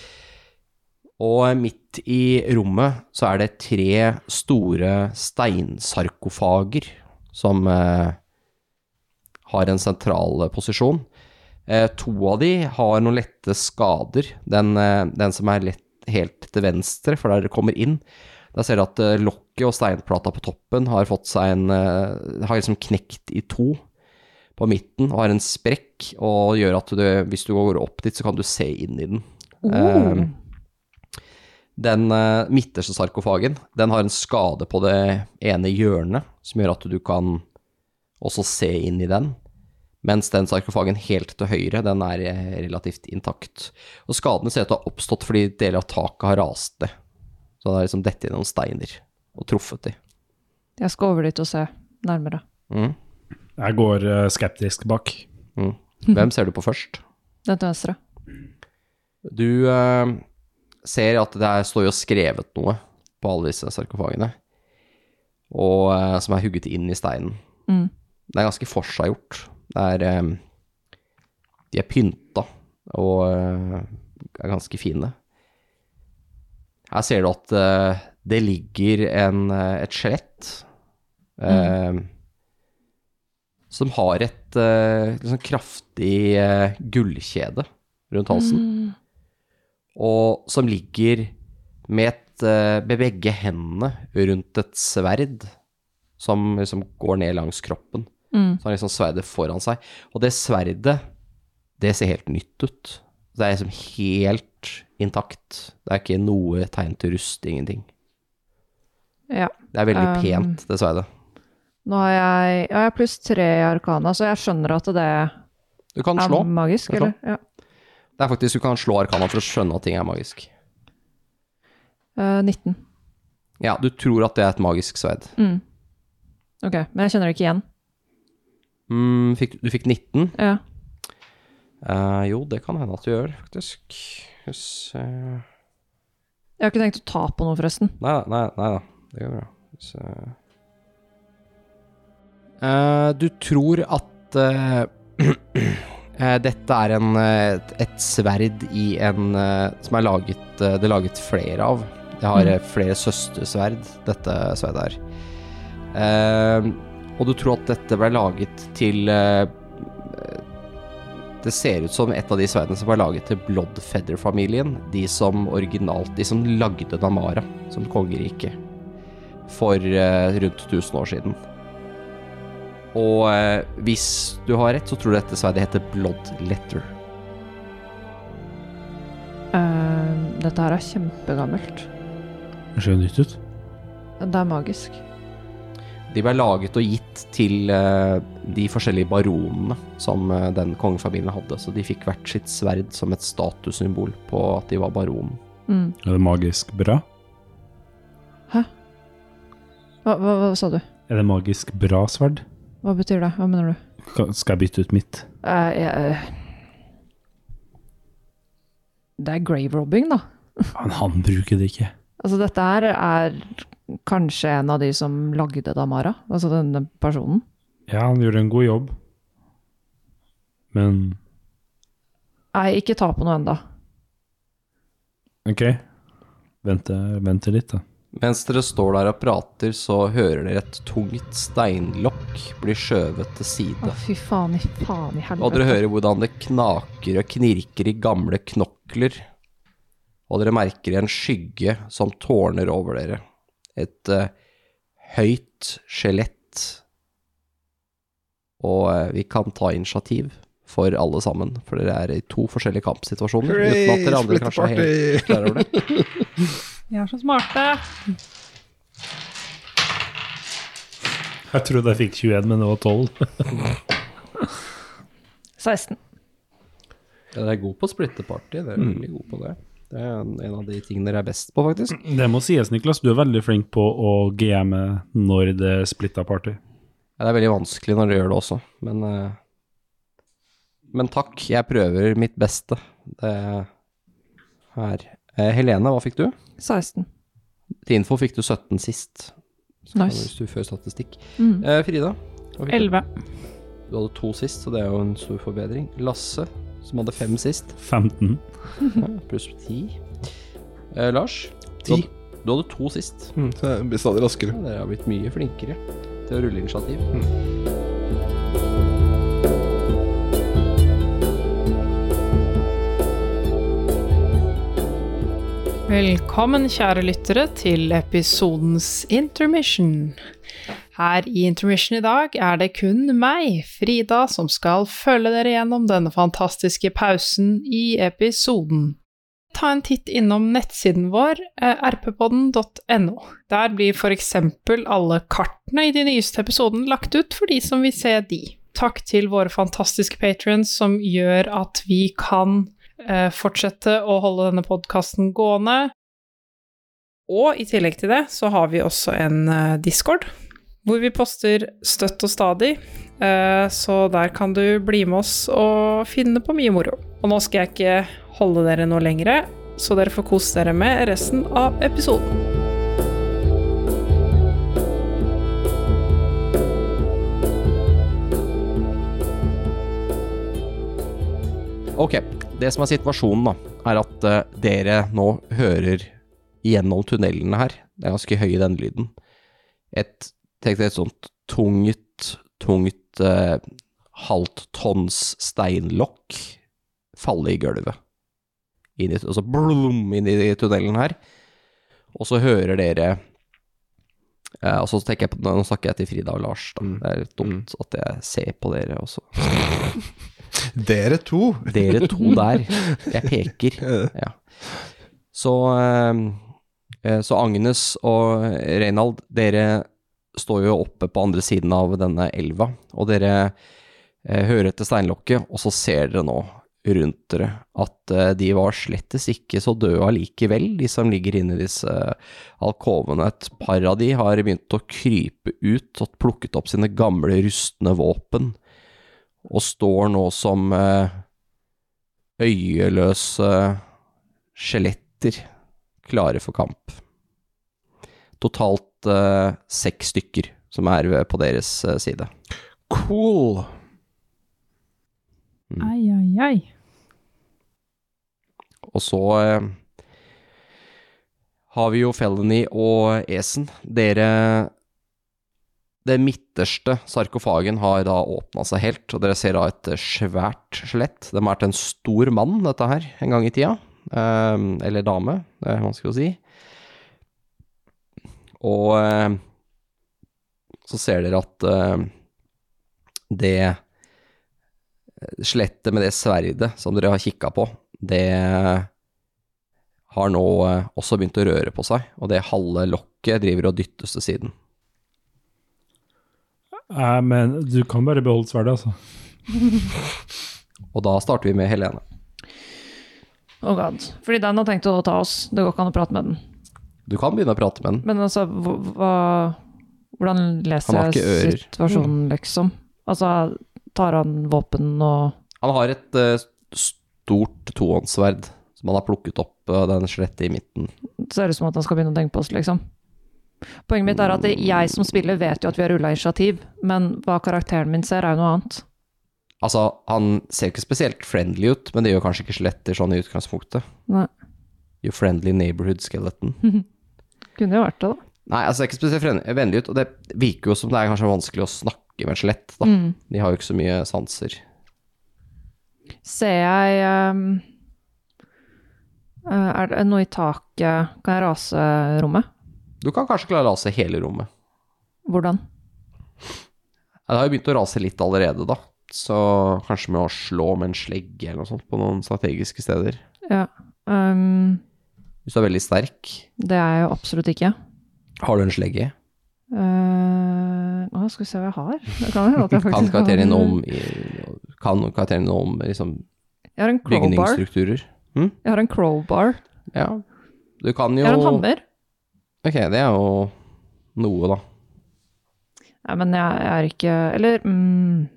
S2: Og midt i rommet så er det tre store steinsarkofager som eh, har en sentral posisjon. Eh, to av de har noen lette skader. Den, eh, den som er lett, helt til venstre, for der dere kommer inn, der ser dere at eh, lokket og steinplata på toppen har fått seg en eh, Har liksom knekt i to på midten og har en sprekk, og gjør at du, hvis du går opp dit, så kan du se inn i den. Eh, den eh, midterste sarkofagen, den har en skade på det ene hjørnet, som gjør at du kan også se inn i den. Mens den sarkofagen helt til høyre, den er eh, relativt intakt. Og skadene ser ut til å ha oppstått fordi deler av taket har rast ned. Så det er liksom dette i noen steiner, og truffet de.
S6: Jeg skal over dit og se nærmere.
S2: Mm.
S5: Jeg går eh, skeptisk bak.
S2: Mm. Hvem ser du på først?
S6: Den til venstre.
S2: Du eh, ser at det er- står jo skrevet noe på alle disse sarkofagene, og, eh, som er hugget inn i steinen.
S6: Mm.
S2: Det er ganske forseggjort. Det er eh, De er pynta og eh, er ganske fine. Her ser du at eh, det ligger en, eh, et skjelett eh, som har et eh, liksom kraftig eh, gullkjede rundt halsen og som ligger med et, eh, med begge hendene rundt et sverd som liksom går ned langs kroppen.
S6: Mm.
S2: Så har liksom sverdet foran seg. Og det sverdet, det ser helt nytt ut. Det er liksom helt intakt. Det er ikke noe tegn til rust, ingenting.
S6: Ja.
S2: Det er veldig
S6: Um,
S2: pent, det sverdet.
S6: Nå har jeg, ja, jeg har pluss tre i arkana, så jeg skjønner at det er
S2: Du kan slå.
S6: magisk,
S2: Slå.
S6: eller? Ja.
S2: Det er faktisk, du kan slå arkana for å skjønne at ting er magisk.
S6: Eh, 19.
S2: Ja, du tror at det er et magisk sverd.
S6: Mm. Ok, men jeg kjenner det ikke igjen.
S2: Mm, fikk, du fikk 19.
S6: Ja.
S2: Eh, jo, det kan hende at du gjør, faktisk. Yes, eh,
S6: Jeg har ikke tenkt å ta på noe, forresten.
S2: nei, da, nei, nei da, det går bra. Yes, eh. Eh, du tror at eh, eh, dette er en, eh, et- et sverd i en eh, som er laget, eh, det er laget flere av. Det har eh, flere søstersverd, dette sverdet her. Eh, og du tror at dette ble laget til eh, Det ser ut som et av de sverdene som var laget til Bloodfeather-familien. De som originalt De som lagde Namara som kongerike for eh, rundt 1000 år siden. Og eh, hvis du har rett, så tror du dette sverdet heter Bloodletter.
S6: Eh, dette her er kjempegammelt.
S5: Det ser jo nytt ut.
S6: Det er magisk.
S2: De ble laget og gitt til eh, de forskjellige baronene som eh, den kongefamilien hadde, så de fikk hvert sitt sverd som et statussymbol på at de var baronen.
S6: Mm.
S5: Er det magisk bra?
S6: Hva, hva, hva sa du?
S5: Er det magisk bra sverd?
S6: Hva betyr det? Hva mener du?
S5: Ka- Skal jeg bytte ut mitt?
S6: Eh, jeg, eh, det er grave robbing, da.
S5: Men han bruker det ikke.
S6: Altså, dette her er kanskje en av de som lagde Damara, altså denne personen.
S5: Ja, han gjorde en god jobb. Men
S6: Nei, ikke ta på noe enda.
S5: OK. Vente, vente litt, da.
S2: Mens dere står der og prater, så hører dere et tungt steinlokk bli skjøvet til
S6: Å,
S2: side.
S6: fy faen i faen i helvete.
S2: Og dere hører hvordan det knaker og knirker i gamle knokler. Og dere merker en skygge som tårner over dere. Et eh, høyt skjelett. Og eh, vi kan ta initiativ for alle sammen, for dere er i to forskjellige kampsituasjoner. uten at dere andre kanskje er helt klar over det.
S4: Vi er så smarte.
S5: Jeg trodde jeg fikk 21, men det var 12.
S6: 16.
S2: Ja, dere er gode på å splitte party, dere er veldig gode på det. Det er en en av de tingene dere er best på, faktisk.
S5: Det må sies, Niklas. Du er veldig flink på å GM-e når det splitter party.
S2: Ja, det er veldig vanskelig når du gjør det også, men eh, Men takk, jeg prøver mitt beste. Det her. Eh, Helene, hva fikk du?
S6: 16.
S2: Til info fikk du 17 sist. Så kan
S6: Nice.
S2: du- Hvis du fører statistikk.
S6: Mm.
S2: Eh, Frida? hva fikk du?
S4: 11.
S2: Du hadde to sist, så det er jo en stor forbedring. Lasse, som hadde fem sist,
S5: 15.
S2: ja, pluss ti. Eh, Lars? Du
S3: Ti.
S2: hadde, du hadde to sist.
S3: Mm, så jeg blir stadig raskere.
S2: Ja, dere har blitt mye flinkere til å rulle initiativ.
S4: Velkommen, kjære lyttere, til episodens intermission. Her i intermission i dag er det kun meg, Frida, som skal følge dere gjennom denne fantastiske pausen i episoden. Ta en titt innom nettsiden vår, eh, rppodden.no. Der blir for eksempel alle kartene i de nyeste episodene lagt ut for de som vil se de. Takk til våre fantastiske patrons som gjør at vi kan eh, fortsette å holde denne podkasten gående. Og i tillegg til det så har vi også en eh, Discord, hvor vi poster støtt og stadig. Eh, så der kan du bli med oss og finne på mye moro. Og nå skal jeg ikke holde dere noe lengre, så dere får kose dere med resten av episoden.
S2: Ok, det som er situasjonen da, er at eh, dere nå hører gjennom tunnelene her, det er ganske høy den lyden, et, tenk deg et sånt tungt, tungt eh, halvt tons steinlokk falle i gulvet. Inn i, og så blum inn i tunnelen her, og så hører dere, eh, og så tenker jeg på, nå snakker jeg til Frida og Lars da, det er litt dumt at jeg ser på dere også.
S3: Dere to!
S2: Dere to der. Jeg peker. Ja. Så, eh, eh, så Agnes og Reinald, dere står jo oppe på andre siden av denne elva, og dere eh, hører etter steinlokket, og så ser dere nå rundt dere at eh, de var slettes ikke så døde allikevel, de som ligger inne i disse eh, alkovene. Et par av de har begynt å krype ut og plukket opp sine gamle rustne våpen, og står nå som eh, øyeløse eh, skjeletter klare for kamp. Totalt eh, seks stykker som er ved- på deres eh, side.
S3: Cool!
S4: Ai, ai, ai.
S2: Og så eh, har vi jo Felony og Esen. Dere Den midterste sarkofagen har da åpna seg helt, og dere ser da et eh, svært skjelett. Det må ha vært en stor mann, dette her, en gang i tida. Eh, eller dame, det er vanskelig å si. Og eh, så ser dere at eh, det skjelettet med det sverdet som dere har kikka på, det har nå eh, også begynt å røre på seg, og det halve lokket driver og dyttes til siden.
S7: Nei, men du kan bare beholde sverdet, altså.
S2: Og da starter vi med Helene.
S6: Oh god. Fordi den har tenkt å ta oss. Det går ikke an å prate med den.
S2: Du kan begynne å prate med den.
S6: Men altså, hva, hva- hvordan
S2: Han
S6: leser
S2: har ikke ører.
S6: jeg situasjonen, liksom? Altså, tar han våpen og
S2: Han har et eh, stort tohåndssverd som han har plukket opp eh, den skjelettet i midten.
S6: ser ut som at han skal begynne å tenke på oss, liksom. Poenget mitt er at jeg som spiller vet jo at vi har rulla initiativ, men hva karakteren min ser, er jo noe annet.
S2: Altså, han ser ikke spesielt friendly ut, men det gjør kanskje ikke skjeletter sånn i utgangspunktet.
S6: Nei.
S2: Your friendly neighborhood skeleton.
S6: Kunne jo vært det, da.
S2: Nei, altså det er ikke spesielt fren- vennlig ut, og det virker jo som det er kanskje vanskelig å snakke med et skjelett, da.
S6: Mm.
S2: De har jo ikke så mye sanser.
S6: Ser jeg ehm, eh, Er det noe i taket Kan jeg rase rommet?
S2: Du kan kanskje klare å rase hele rommet.
S6: Hvordan?
S2: Ja, Det har jo begynt å rase litt allerede, da. Så kanskje med å slå med en slegge eller noe sånt på noen strategiske steder.
S6: Ja. ehm,
S2: Hvis du er veldig sterk.
S6: det er jeg jo absolutt ikke.
S2: Har du en slegge?
S6: Eh, å, skal vi se hva jeg har? Det kan hende at jeg
S2: Kan
S6: faktisk
S2: karakteren din
S6: har-
S2: om, i- kan karakteren din om liksom,
S6: Jeg har en crowbar.
S2: bygningsstrukturer?
S6: Jeg har en crowbar.
S2: Ja. Du kan jo
S6: Jeg har en hammer.
S2: Ok, det er jo noe, da.
S6: Nei, men jeg er ikke Eller mm,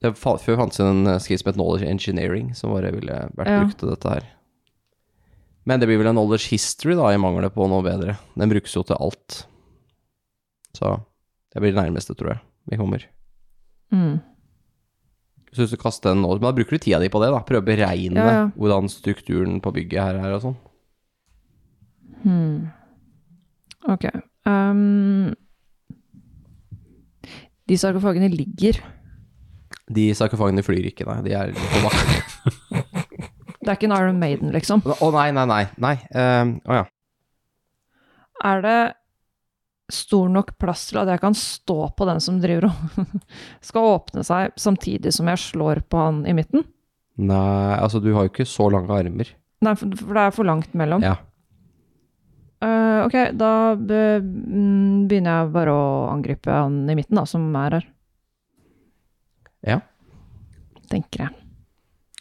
S2: Det fa før fantes det en eh, skrift som het Knowledge Engineering, som bare ville vært
S6: Ja.
S2: brukt til dette her. Men det blir vel en Knowledge History, da, i mangel på noe bedre. Den brukes jo til alt. Så det blir det nærmeste, tror jeg, vi kommer.
S6: mm.
S2: Så hvis du kaster den nå, men da bruker du tida di på det, da. Prøve å beregne
S6: Ja, ja.
S2: hvordan strukturen på bygget her er og sånn.
S6: Hmm. Ok. ehm, de sarkofagene ligger.
S2: De sarkofagene flyr ikke, nei. De er litt på bakken.
S6: Det er ikke en Iron Maiden, liksom.
S2: Å nei, nei, nei. Nei. ehm, Å ja.
S6: Er det stor nok plass til at jeg kan stå på den som driver og skal åpne seg, samtidig som jeg slår på han i midten?
S2: Nei, altså du har jo ikke så lange armer.
S6: Nei, for for det er for langt mellom.
S2: Ja.
S6: Eh, ok, da be- mm, begynner jeg bare å angripe han i midten, da, som er her.
S2: Ja.
S6: Tenker jeg.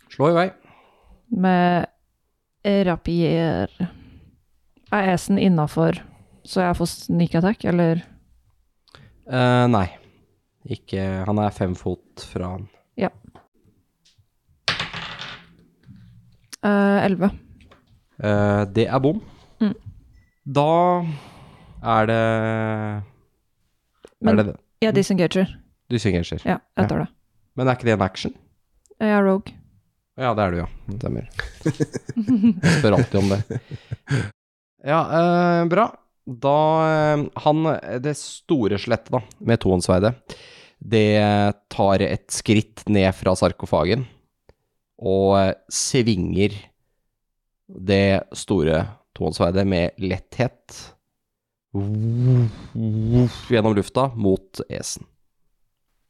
S2: Slå i vei.
S6: Med rapier. Er esen innafor, så jeg får sneak attack, eller
S2: Eh, nei. Ikke Han er fem fot fra han.
S6: eh, 11.
S2: Eh, det er bom.
S6: Mm.
S2: Da er det
S6: Men-
S2: Er det det?
S6: Jeg disengager.
S2: Du synger. Mm.
S6: Ja,
S2: Ja.
S6: jeg tar det.
S2: Men er ikke det en action?
S6: Jeg er rogue.
S2: Ja, det er du, ja. Stemmer. Spør alltid om det. Ja, eh, bra. Da eh, Han Det store skjelettet, da, med tohåndssverdet, det tar et skritt ned fra sarkofagen og eh, svinger det store tohåndssverdet med letthet gjennom lufta mot esen.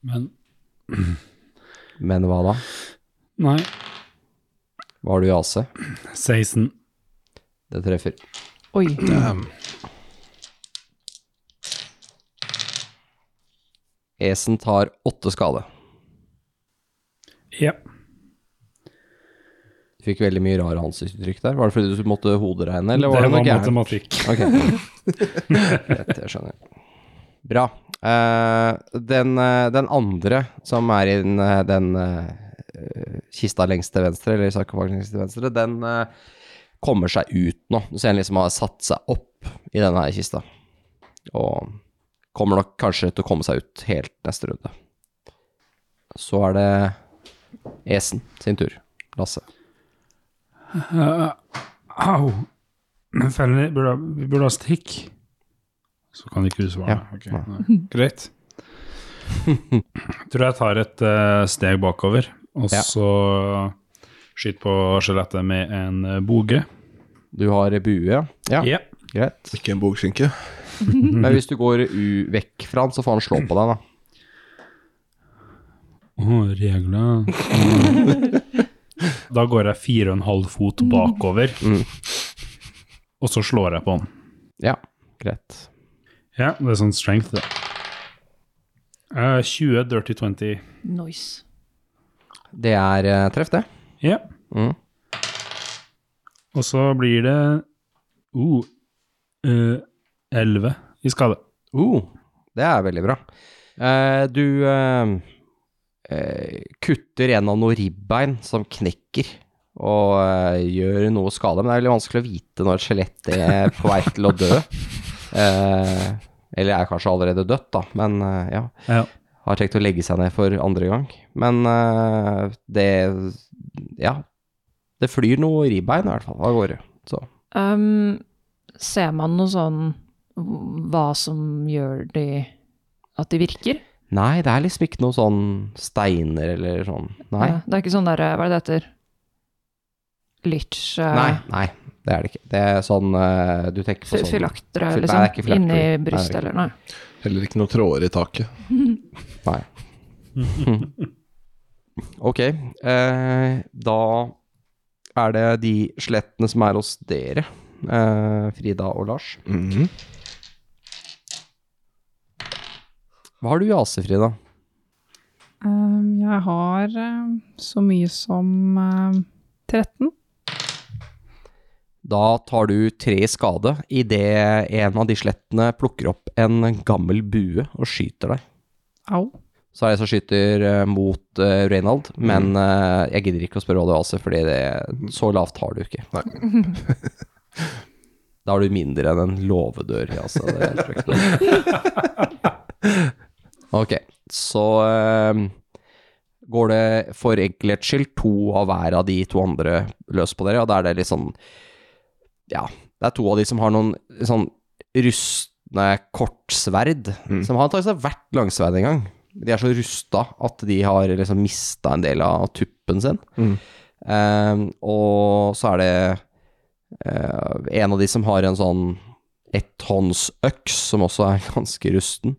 S5: Men
S2: Men hva da?
S5: Nei.
S2: Hva har du i AC?
S5: 16.
S2: Det treffer.
S6: Oi.
S2: Esen tar åtte skade.
S5: Ja.
S2: Du fikk veldig mye rare ansiktsuttrykk der. Var det fordi du måtte hoderegne, eller var
S5: det
S2: det, noe
S5: var
S2: gærent?
S5: matematikk.
S2: Ok. Greit, jeg skjønner. Bra. Eh, den, eh, den andre som er i den, eh, den eh, kista lengst til venstre, eller sarkofagen lengst til venstre, den eh, kommer seg ut nå. Du ser den liksom har satt seg opp i denne her kista. Og kommer nok kanskje til å komme seg ut helt neste runde. Så er det Esen sin tur. Lasse.
S5: Eh, au. Feller, vi burde ha- vi burde ha stikk. Så kan ikke du svare.
S2: Ja.
S5: Ok, nei. Greit. Tror jeg tar et eh, steg bakover, og
S2: Ja.
S5: så skyter på skjelettet med en eh, boge.
S2: Du har bue, ja.
S5: Ja.
S2: Greit.
S3: Ikke en bogskinke.
S2: Men hvis du går u vekk fra han, så får han slå på deg, da.
S5: Å, regler. da går jeg fire og en halv fot bakover,
S2: Mm.
S5: og så slår jeg på han.
S2: Ja, greit.
S5: Ja, det er sånn strength, det. Eh, 20, dirty 20.
S6: Nice.
S2: Det er eh, treff, det.
S5: Ja.
S2: Mm.
S5: Og så blir det uh, eh, 11 i skade.
S2: Uh, det er veldig bra. Eh, du eh, eh, kutter en av noen ribbein som knekker, og eh, gjør noe skade. Men det er veldig vanskelig å vite når et skjelett er på vei til å dø. Eh, eller er kanskje allerede dødt, da. Men eh, ja.
S5: Ja.
S2: Har tenkt å legge seg ned for andre gang. Men eh, det Ja. Det flyr noe ribbein, i hvert fall, av gårde. Så.
S6: Um, ser man noe sånn hva som gjør de at de virker?
S2: Nei, det er liksom ikke noe sånn steiner eller sånn. Nei.
S6: Ja, Det er ikke sånn derre Hva er det det heter? Litch eh,
S2: Nei, nei, det er det ikke. Det er sånn eh, du tenker på
S6: fy-
S2: sånn
S6: Fylaktere,
S2: Fy- nei, det er ikke
S6: liksom?
S2: fylaktere.
S6: Inni
S2: Nei, det er
S6: brystet,
S2: ikke.
S6: eller nei?
S3: Heller ikke noen tråder i taket.
S2: Nei. ok, eh, da er det de skjelettene som er hos dere, eh, Frida og Lars.
S3: Mhm.
S2: Hva har du i AC, Frida?
S4: Um, jeg har um, så mye som um, 13.
S2: Da tar du tre i skade idet en av de skjelettene plukker opp en gammel bue og skyter deg.
S4: Au.
S2: Så er det jeg som skyter eh, mot eh, Reynald, men eh, jeg gidder ikke å spørre hva du har AC, fordi det, så lavt har du ikke. da har du mindre enn en låvedør i AC. Det tror jeg ikke noe om. ok, så eh, går det for enkelhets skyld to av hver av de to andre løs på dere, og da er det litt sånn Ja, det er to av de som har noen sånn rustne kortsverd, som har antakeligvis vært langsverd en gang. De er så rusta at de har liksom mista en del av tuppen sin. Ehm, og så er det eh, en av de som har en sånn etthåndsøks, som også er ganske rusten.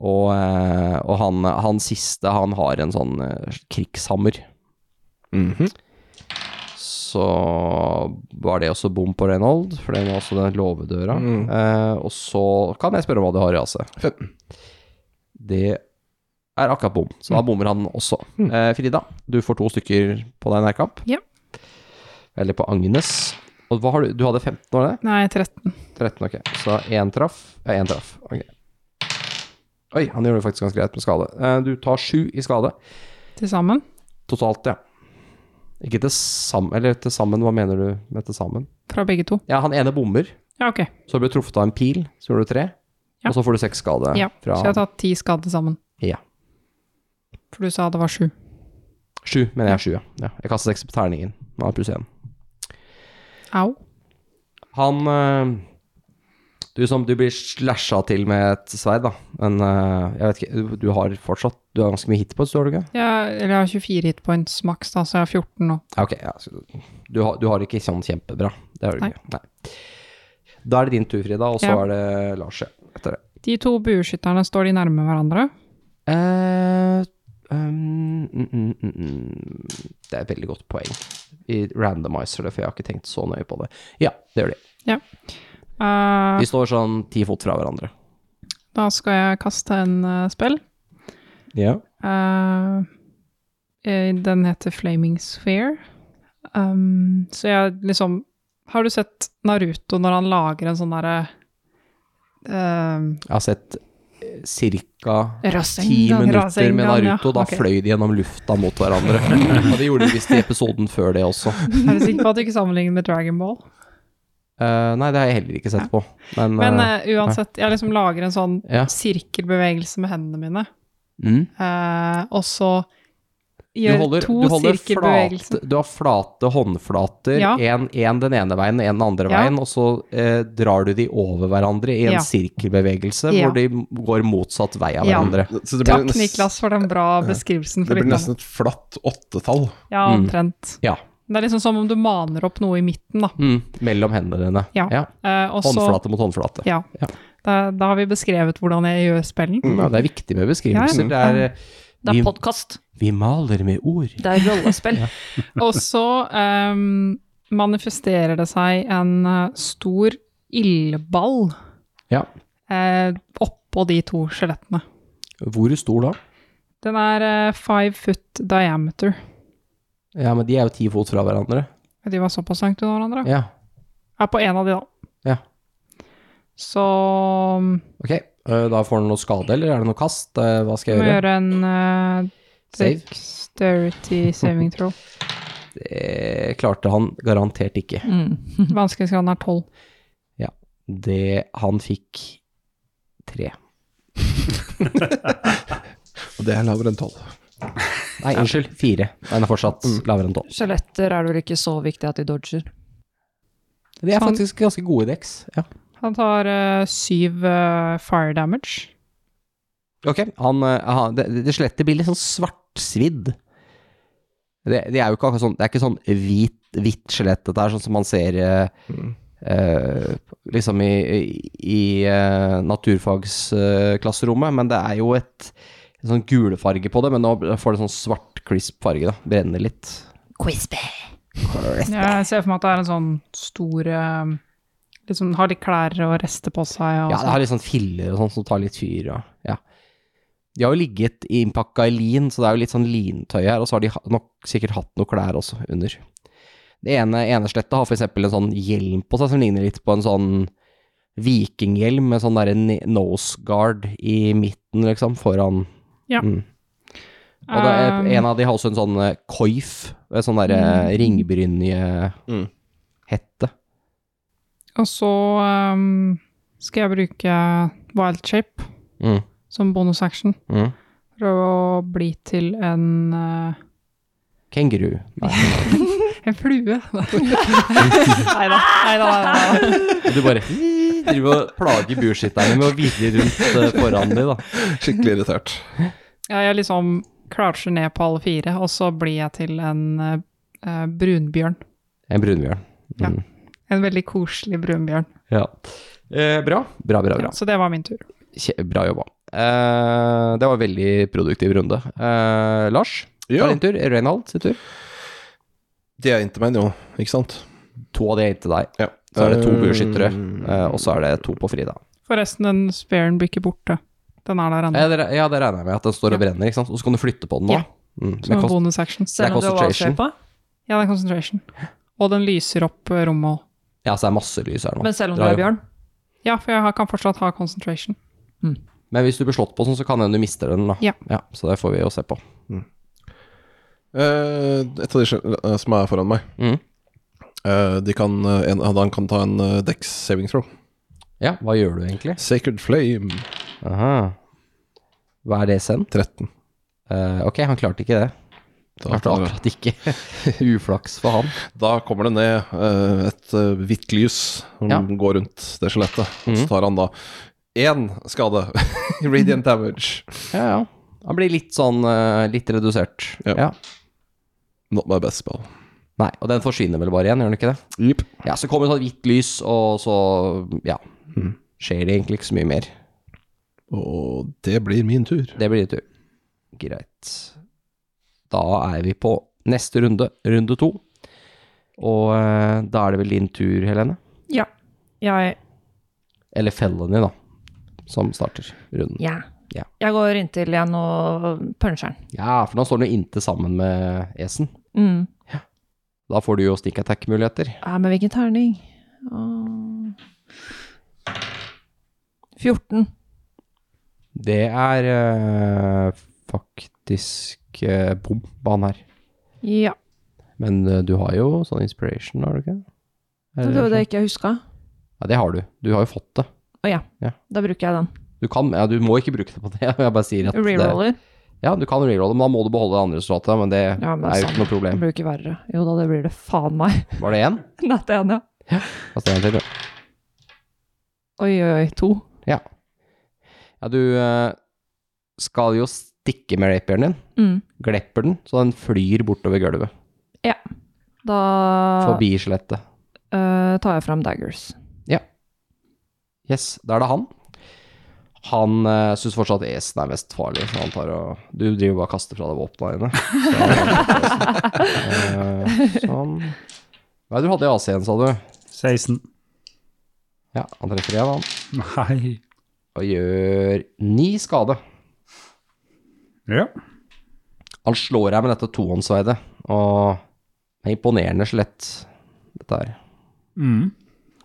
S2: Og, eh, og han, han siste, han har en sånn eh, krigshammer.
S3: Mhm.
S2: Så var det også bom på Reynold, for det var også den låvedøra. Eh, og så kan jeg spørre hva du har i AC.
S3: 15.
S2: Det er akkurat bom, så da bommer han også. Eh, Frida, du får to stykker på deg nærkamp.
S4: Ja.
S2: Eller på Agnes. Og hva har du? Du hadde 15, var det?
S4: Nei, 13.
S2: 13, ok. Så én traff. Ja, én traff. Ok. Oi, han gjør det faktisk ganske greit med skade. Eh, du tar sju i skade
S4: Til sammen.
S2: totalt, ja. Ikke til sammen Eller til sammen, hva mener du med til sammen?
S4: Fra begge to.
S2: Ja, han ene bommer,
S4: Ja, ok.
S2: så ble du truffet av en pil, så gjorde du tre.
S4: Ja.
S2: Og så får du seks skade
S4: Ja,
S2: fra
S4: Så jeg har tatt ti skader til sammen.
S2: Ja.
S4: For du sa det var sju.
S2: Sju, mener jeg er sju, ja. ja. Jeg kastet seks på terningen. Han har pluss én.
S4: Au.
S2: Han eh, Du som du blir slasha til med et sverd, da. Men eh, jeg vet ikke du- Du har fortsatt Du har ganske mye hit på, står du ikke?
S4: Jeg, eller jeg har 24 hitpoints maks, da, så jeg har 14 nå.
S2: Ja, ok. Ja, så du, har, du har ikke sånn kjempebra. Det har du
S4: Nei.
S2: ikke. Nei. Da er det din tur, Frida, og så
S4: Ja.
S2: er det Lars ja, etter det.
S4: De to bueskytterne, står de nærme hverandre?
S2: eh um, mm, mm, mm, mm. Det er et veldig godt poeng. Vi randomiser det, for jeg har ikke tenkt så nøye på det. Ja, det gjør de.
S4: Eh,
S2: De står sånn ti fot fra hverandre.
S4: da skal jeg kaste en eh, spill.
S2: Ja.
S4: Eh, eh, den heter Flaming Sphere. Um, så jeg liksom Har du sett Naruto når han lager en sånn derre eh,
S2: Jeg har sett ca.
S6: Rassing.
S2: ti
S4: Rasengan,
S2: minutter med
S4: Rasengan, ja.
S2: Naruto. Da
S4: Ok.
S2: fløy de gjennom lufta mot hverandre. Og det gjorde de visst i episoden før det også.
S4: Er du sikker på at du ikke sammenligner med Dragon Ball?
S2: Eh, nei, det har jeg heller ikke sett på. Men,
S4: Men
S2: eh,
S4: eh, uansett, jeg liksom lager en sånn
S2: ja.
S4: eh, sirkelbevegelse med hendene mine,
S2: Mm.
S4: eh, og så
S2: Du
S4: gjør
S2: holder,
S4: to
S2: du holder
S4: sirkelbevegelser.
S2: flate, du har flate håndflater,
S4: Ja.
S2: en, en den ene veien og en den andre
S4: Ja.
S2: veien, og så eh, drar du de over hverandre i en
S4: Ja.
S2: sirkelbevegelse
S4: Ja.
S2: hvor de går motsatt vei av
S4: Ja.
S2: hverandre.
S3: Så det
S4: Takk,
S3: nest-
S4: Niklas, for den bra beskrivelsen.
S3: Det
S4: For
S3: blir
S4: litt
S3: nesten et flatt åttetall.
S4: om- Ja,
S2: Mm.
S4: omtrent.
S2: Ja.
S4: Det er liksom som om du maner opp noe i midten, da.
S2: Mm, mellom hendene dine.
S4: Ja. Eh, og så
S2: Håndflate mot håndflate.
S4: Ja.
S2: Ja. Mm.
S4: Da, da har vi beskrevet hvordan jeg gjør spellen.
S2: Ja, det er viktig med beskrivelser.
S4: Ja, ja.
S2: Det er, eh,
S6: Det
S2: Vi-
S6: er podkast.
S2: vi maler med ord.
S6: Det er rollespill.
S4: Og så ehm, manifesterer det seg en eh, stor ildball
S2: Ja.
S4: eh, oppå de to skjelettene.
S2: Hvor stor da?
S4: Den er eh, five foot diameter.
S2: Ja, men de er jo ti fot fra hverandre.
S4: De var såpass langt unna hverandre.
S2: Ja,
S4: Er på en av de, da.
S2: Ja.
S4: Så mm,
S2: ok. Eh, Da får den noe skade, eller er det noe kast? Eh, Hva skal
S4: må
S2: jeg gjøre?
S4: jeg gjøre en eh,
S2: Save?
S4: dexterity saving throw.
S2: Det Eh, klarte han garantert ikke.
S6: Mm.
S4: Vanskelighetsgraden er tolv.
S2: Det han fikk tre.
S3: Og det er lavere enn tolv.
S2: Nei, unnskyld, fire. Den er fortsatt lavere enn tolv.
S8: Skjeletter er det vel ikke så viktig at de dodger.
S2: De er
S4: Så han-
S2: faktisk ganske gode i dex. Ja.
S4: Han tar eh, syv eh, fire damage.
S2: Ok, han, eh, han, det, det skjelettet blir litt sånn svartsvidd. Det, det er jo ikke akkurat sånn, det er ikke sånn hvit, hvitt skjelett, dette er sånn som man ser eh, eh, liksom i, i eh, naturfagsklasserommet, men det er jo et en sånn gulefarge på det, men nå får det sånn svart crisp farge da, brenner litt.
S6: Quizby.
S4: Jeg ser for meg at det er en sånn stor eh, liksom, Har litt klær og rester på seg.
S2: Ja,
S4: Og
S2: det
S4: sånn.
S2: har litt sånn filler og sånn som tar litt fyr. Og, ja. De har jo ligget innpakka i lin, så det er jo litt sånn lintøy her, og så har de ha- nok sikkert hatt noe klær også under. Det ene eneslettet har for eksempel en sånn hjelm på seg som ligner litt på en sånn vikinghjelm med sånn derre ne- nose guard i midten, liksom, foran
S4: Ja. Um.
S2: Mm.
S4: sånn.
S2: Og det er, en av de har også en sånn eh, koif, en sånn derre ringbrynje
S3: Mm.
S2: hette.
S4: og så eh, skal jeg bruke eh, wild shape
S2: Mm.
S4: som bonus action
S2: Mm.
S4: for å bli til en eh,
S2: Kenguru. Nei.
S4: en flue. Nei da. Nei da.
S2: Og du bare driver og plager burskitterne med å hvile rundt eh, foran dem, da.
S3: Skikkelig irritert.
S4: Jeg liksom klarer seg ned på alle fire, og så blir jeg til en eh, eh, brunbjørn.
S2: En brunbjørn.
S4: Ja.
S2: Mm.
S4: En veldig koselig brunbjørn.
S2: Ja. Eh, bra. Bra, bra, bra.
S4: Så det var min tur.
S2: Kje, bra jobba. Eh, det var en veldig produktiv runde. Eh, Lars,
S3: Ja,
S2: ta din tur. Reinhold sin tur.
S3: de er inntil meg nå, ikke sant?
S2: To av de er inntil deg. Så er det to
S3: Eh,
S2: burskyttere, eh, og så er det to på Frida.
S4: Forresten, den spearen blir ikke borte. Den er der ennå.
S2: Ja, det, re- ja, det regner jeg med at den står og brenner, ikke sant. Og så kan du flytte på den nå.
S4: Ja.
S2: Mm.
S4: Som
S2: Men
S4: en
S2: kost,
S4: bonus action.
S2: det er
S6: Selv om du har
S2: concentration.
S6: wildshapa.
S4: Ja, det er concentration. Og den lyser opp eh, rommet òg.
S2: ja, så det er masse lys her nå.
S6: Men selv om du
S2: Dra
S6: er
S2: jo.
S6: bjørn.
S4: Ja, for jeg har- kan fortsatt ha concentration.
S2: Men hvis du blir slått på sånn, så kan det hende du mister den, da.
S4: Ja.
S2: så det får vi jo se på.
S3: Eh, et av de skjø- eh, som er foran meg,
S2: Mm.
S3: eh, de kan, eh, en, han kan ta en eh, Dex saving throw.
S2: Ja, hva gjør du egentlig?
S3: Sacred Flame
S2: Aha. Hva er det sen?
S3: 13.
S2: Eh, ok, han klarte ikke det.
S3: Da,
S2: Klarte akkurat ikke. Uflaks for han.
S3: da kommer det ned eh, et eh, hvitt lys som
S2: Ja.
S3: går rundt det skjelettet. Og
S2: Mhm.
S3: Så tar han da én skade. Radiant damage.
S2: Ja, ja. Han blir litt sånn eh, litt redusert.
S3: Ja. Not my best spell.
S2: Nei, og den forsvinner vel bare igjen, gjør den ikke det?
S3: Yep.
S2: Ja, så kommer det sånn hvitt lys, og så ja. Skjer det egentlig ikke så mye mer.
S3: Og det blir min tur.
S2: Det blir din tur. Greit. Da er vi på neste runde, runde to. Og eh, da er det vel din tur, Helene?
S6: Ja. Jeg,
S2: Eller Felony, da, som starter runden.
S6: ja.
S2: Ja.
S6: jeg går inntil igjen og puncher den.
S2: Ja, for nå står den jo inntil sammen med Esen.
S6: Mm.
S2: Da får du jo stick attack-muligheter.
S6: Ja, men hvilken terning? Åh. 14.
S2: Det er eh, faktisk eh, bom på han her.
S6: Ja.
S2: Men eh, du har jo sånn inspiration, har du ikke? Er
S6: Det var det
S2: sånn?
S6: jeg ikke huska.
S2: Ja, det har du. Du har jo fått det.
S6: Å ja.
S2: Ja.
S6: Da bruker jeg den.
S2: Du kan, ja, du må ikke bruke det på det. Jeg bare sier at det,
S6: Reroller.
S2: Ja, du kan rerolle, men da må du beholde det andre resultatet. Men det
S6: Ja, men
S2: er jo
S6: sant.
S2: ikke noe
S6: Det
S2: problem.
S6: blir ikke verre. Jo da, det blir det faen meg.
S2: Var det én?
S6: Nei, det er det.
S2: Altså, det er en til, ja.
S6: Oi, oi, oi. To.
S2: Ja, du eh, skal jo stikke med rapieren din.
S6: Mm.
S2: Glepper den, så den flyr bortover gulvet.
S6: Da
S2: Forbi skjelettet.
S6: eh, tar jeg fram daggers.
S2: Yes, da er det han. Han uh, syns fortsatt esen er mest farlig, så han tar og Du driver bare og kaster fra deg våpnene dine. Så, eh, sånn. Hva er det du hadde i AC igjen, sa du?
S5: 16.
S2: Ja, han treffer igjen, han.
S5: Nei.
S2: Og gjør ni skade.
S5: Ja.
S2: Han slår deg med dette tohåndssverdet, og det er imponerende skjelett, dette her.
S5: Mm.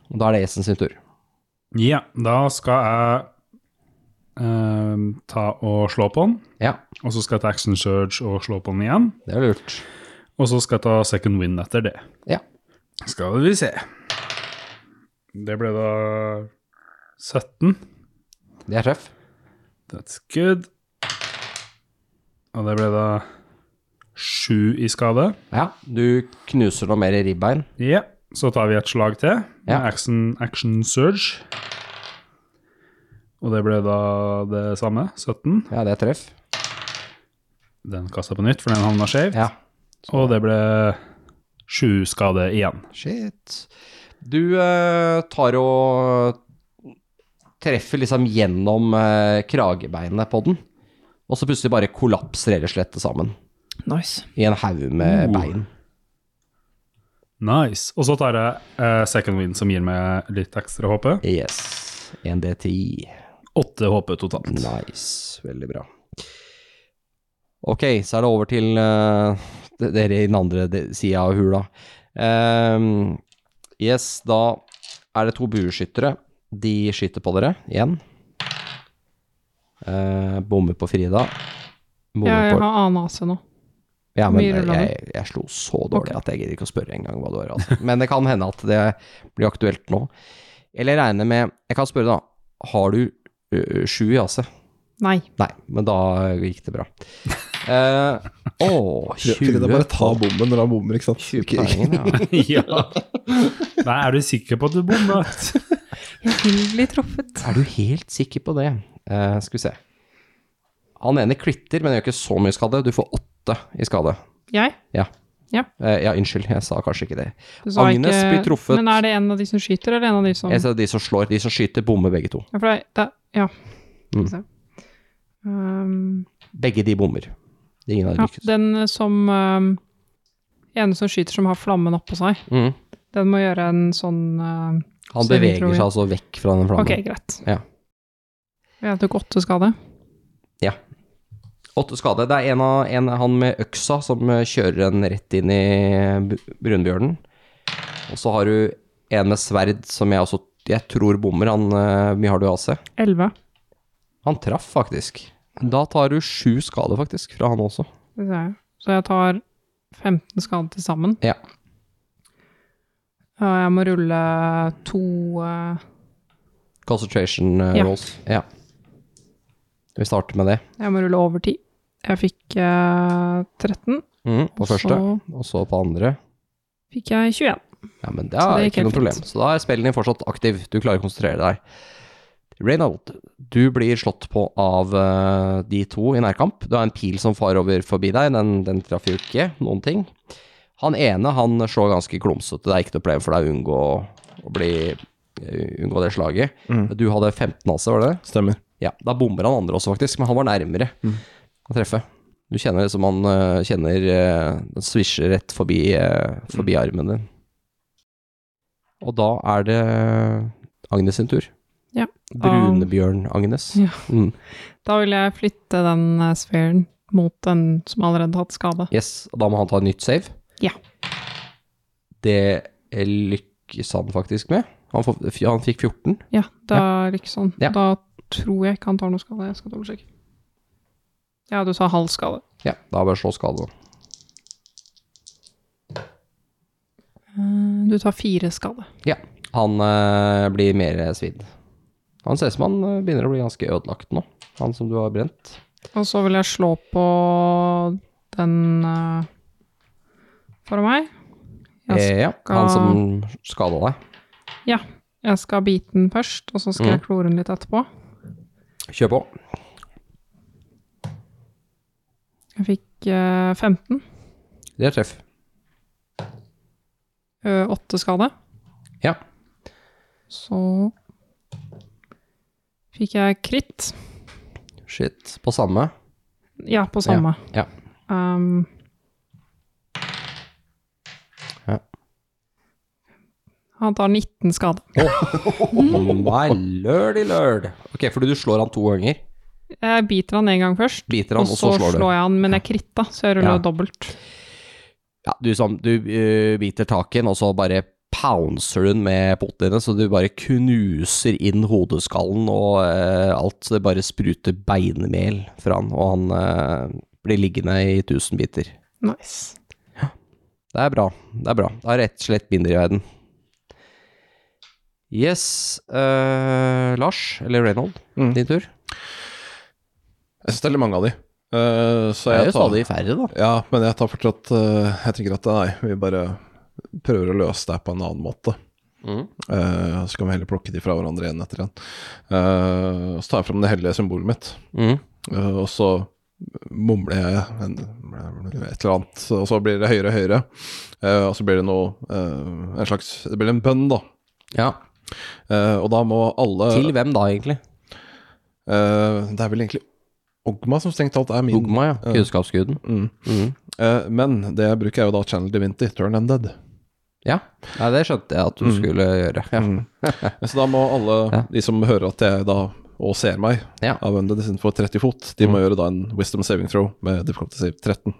S2: Og da er det Esen sin tur.
S5: Ja, da skal jeg ehm, ta og slå på den.
S2: Ja,
S5: Og så skal jeg ta action surge og slå på den igjen.
S2: det er lurt.
S5: Og så skal jeg ta second win etter det.
S2: Ja.
S5: Skal vi se. Det ble da 17.
S2: Det er treff.
S5: That's good. Og det ble da 7 i skade.
S2: Ja, du knuser noe mer i ribbein.
S5: Ja, så tar vi et slag til. med
S2: Ja.
S5: Action, action surge. Og det ble da det samme, 17.
S2: Ja, det er treff.
S5: Den kasta på nytt, for den havna skjevt.
S2: Ja.
S5: Og det ble 7 skade igjen.
S2: Shit. Du eh, tar og treffer liksom gjennom eh, kragebeinet på den, og så plutselig bare kollapser hele slettet sammen
S6: Nice.
S2: i en haug med
S5: Oh.
S2: bein.
S5: Nice. Og så tar jeg eh, second win, som gir meg litt ekstra HP.
S2: Yes. 1D10.
S5: 8 HP totalt.
S2: Nice. Veldig bra. Ok, så er det over til eh, d- dere i den andre de- sida av hula. Ehm, yes, da er det to bueskyttere. De skyter på dere igjen. Eh, bommer på Frida. Bommer
S4: Jeg
S2: på
S4: har annen AC nå.
S2: Ja, men
S4: mye
S2: jeg,
S4: ruller du.
S2: jeg, jeg slo så dårlig at jeg gidder ikke å spørre engang hva du har. Altså. Men det kan hende at det blir aktuelt nå. Eller jeg regner med Jeg kan spørre, da. Har du ø, ø, sju i AC?
S4: Nei.
S2: Nei, men da gikk det bra. Eh, Å, 20
S3: Frida, bare ta bommen når han bommer, ikke sant? Ikke- ikke-
S2: poeng, ja.
S5: ja. Nei, er du sikker på at du bomma?
S4: Jeg vil bli truffet.
S2: Er du helt sikker på det? Eh, skal vi se. Han ene klitter, men gjør ikke så mye skade. Du får åtte i skade.
S4: Jeg?
S2: Eh, ja, unnskyld, jeg sa kanskje ikke det.
S4: Du sa
S2: Agnes
S4: ikke-
S2: blir truffet.
S4: Men er det en av de som skyter, eller en av de som
S2: Jeg sa de som slår, de som skyter, bommer begge to.
S4: Ja, for det, det, ja.
S2: Mm.
S4: Så. Um,
S2: Begge de bommer. Det er ingen av de
S4: ja.
S2: lykkes.
S4: Den som um, ene som skyter som har flammen oppå seg,
S2: Mm.
S4: den må gjøre en sånn um,
S2: Han
S4: Så vi
S2: beveger
S4: tror-
S2: seg altså vekk fra den flammen.
S4: Ok, greit.
S2: Ja.
S4: Jeg tok åtte skade.
S2: Åtte skade. Det er en, av, en han med øksa som eh, kjører en rett inn i bu- brunbjørnen. Og så har du en med sverd som jeg også jeg tror bommer. Han eh, Hvor mye har du i AC?
S4: Elleve.
S2: Han traff faktisk. Da tar du sju skade faktisk fra han også.
S4: Det ser jeg. Så jeg tar 15 skade til sammen.
S2: Ja.
S4: Og jeg må rulle to eh,
S2: Concentration eh,
S4: Ja.
S2: rolls. Ja. Vi starter med det.
S4: Jeg må rulle over ti. Jeg fikk eh, 13.
S2: Mm, på
S4: og
S2: første,
S4: Så
S2: og så på andre.
S4: fikk jeg 21.
S2: Ja, men det
S4: Så
S2: er
S4: det gikk
S2: ikke
S4: helt
S2: noe problem.
S4: fint.
S2: Så da er spillen din fortsatt aktiv. Du klarer å konsentrere deg. Reynold, du blir slått på av eh, de to i nærkamp. Du har en pil som far over forbi deg, den, den traff jo ikke noen ting. Han ene han slår ganske klumsete, det er ikke noe problem for deg å unngå å bli eh, unngå det slaget. Du hadde 15 AC, var det det?
S3: Stemmer.
S2: Ja, da bomber han andre også faktisk, men han var nærmere å treffe. Du kjenner det som han øh, kjenner øh, Den svisjer rett forbi, øh, forbi armen din. Og da er det Agnes sin tur.
S4: Ja.
S2: Brunebjørn-Agnes.
S4: Ja.
S2: Mm.
S4: Da vil jeg flytte den eh, sfæren mot den som allerede har hatt skade.
S2: Yes, og da må han ta nytt save.
S4: Ja.
S2: Det lykkes han faktisk med. Han, får, han fikk 14.
S4: Ja, da lykkes han.
S2: Ja.
S4: sånn. Da tror jeg ikke han tar noe skade. Jeg skal dobbeltsjekke. Ja, du sa halv skade.
S2: Ja, da bare slå skade.
S4: Eh, Du tar fire skade.
S2: Han eh, blir mer svidd. Han ser ut som han eh, begynner å bli ganske ødelagt nå, han som du har brent.
S4: Og så vil jeg slå på den eh, for meg. Jeg,
S2: Eh, ja, han som skada deg.
S4: s- jeg skal bite den først, og så skal jeg klore den litt etterpå.
S2: Kjør på.
S4: Jeg fikk eh, 15.
S2: Det er treff.
S4: eh, 8 skade.
S2: Ja.
S4: Så fikk jeg kritt.
S2: Shit. På samme.
S4: Ja, på samme.
S2: Ja,
S4: Um,
S2: Ja.
S4: Han tar 19 skade. Mhm.
S2: Nei, lørd i lørd. Ok, fordi du slår han to ganger.
S4: Jeg biter han en gang først,
S2: Biter han,
S4: og så slår,
S2: du.
S4: jeg han, men jeg kritta, så jeg ruller
S2: Ja.
S4: dobbelt.
S2: Ja, du, som, du eh, biter tak i den, og så bare pouncer du den med potene dine, så du bare knuser inn hodeskallen og eh, alt, så det bare spruter beinmel fra han, og han eh, blir liggende i tusen biter.
S4: Nice.
S2: Det er bra. Det er bra. Det er rett og slett binder i verden. Yes, eh, Lars, eller Reynold,
S3: Mm.
S2: din tur.
S3: Jeg syns det er litt mange av de. Eh, så
S2: Det er
S3: jeg
S2: jo
S3: tar
S2: stadig færre, da.
S3: Ja, men jeg tar fortsatt eh, Jeg tenker at nei, vi bare prøver å løse det her på en annen måte.
S2: Mm.
S3: Eh, så kan vi heller plukke de fra hverandre én etter én. Eh, og så tar jeg fram det hellige symbolet mitt,
S2: Mm.
S3: eh, og så mumler jeg en, et eller annet, og så blir det høyere og høyere. Eh, og så blir det noe eh, En slags Det blir en bønn, da.
S2: Ja.
S3: Eh, og da må alle
S2: Til hvem da, egentlig?
S3: Eh, Det er vel egentlig Ogma som strengt talt er min.
S2: Dogma, ja.
S3: eh,
S2: Kunnskapsguden.
S3: Mm.
S2: Mm.
S3: Eh, men det jeg bruker, er jo da Channel Divinity, Turn Undead.
S2: Ja, Nei, det skjønte jeg at du skulle gjøre. Ja.
S3: Mm. Så da må alle
S2: Ja.
S3: de som hører at jeg da og ser meg
S2: Ja. Mm.
S3: av Undead istedenfor 30 fot, de må gjøre da en Wisdom Saving Throw med difficulty save 13.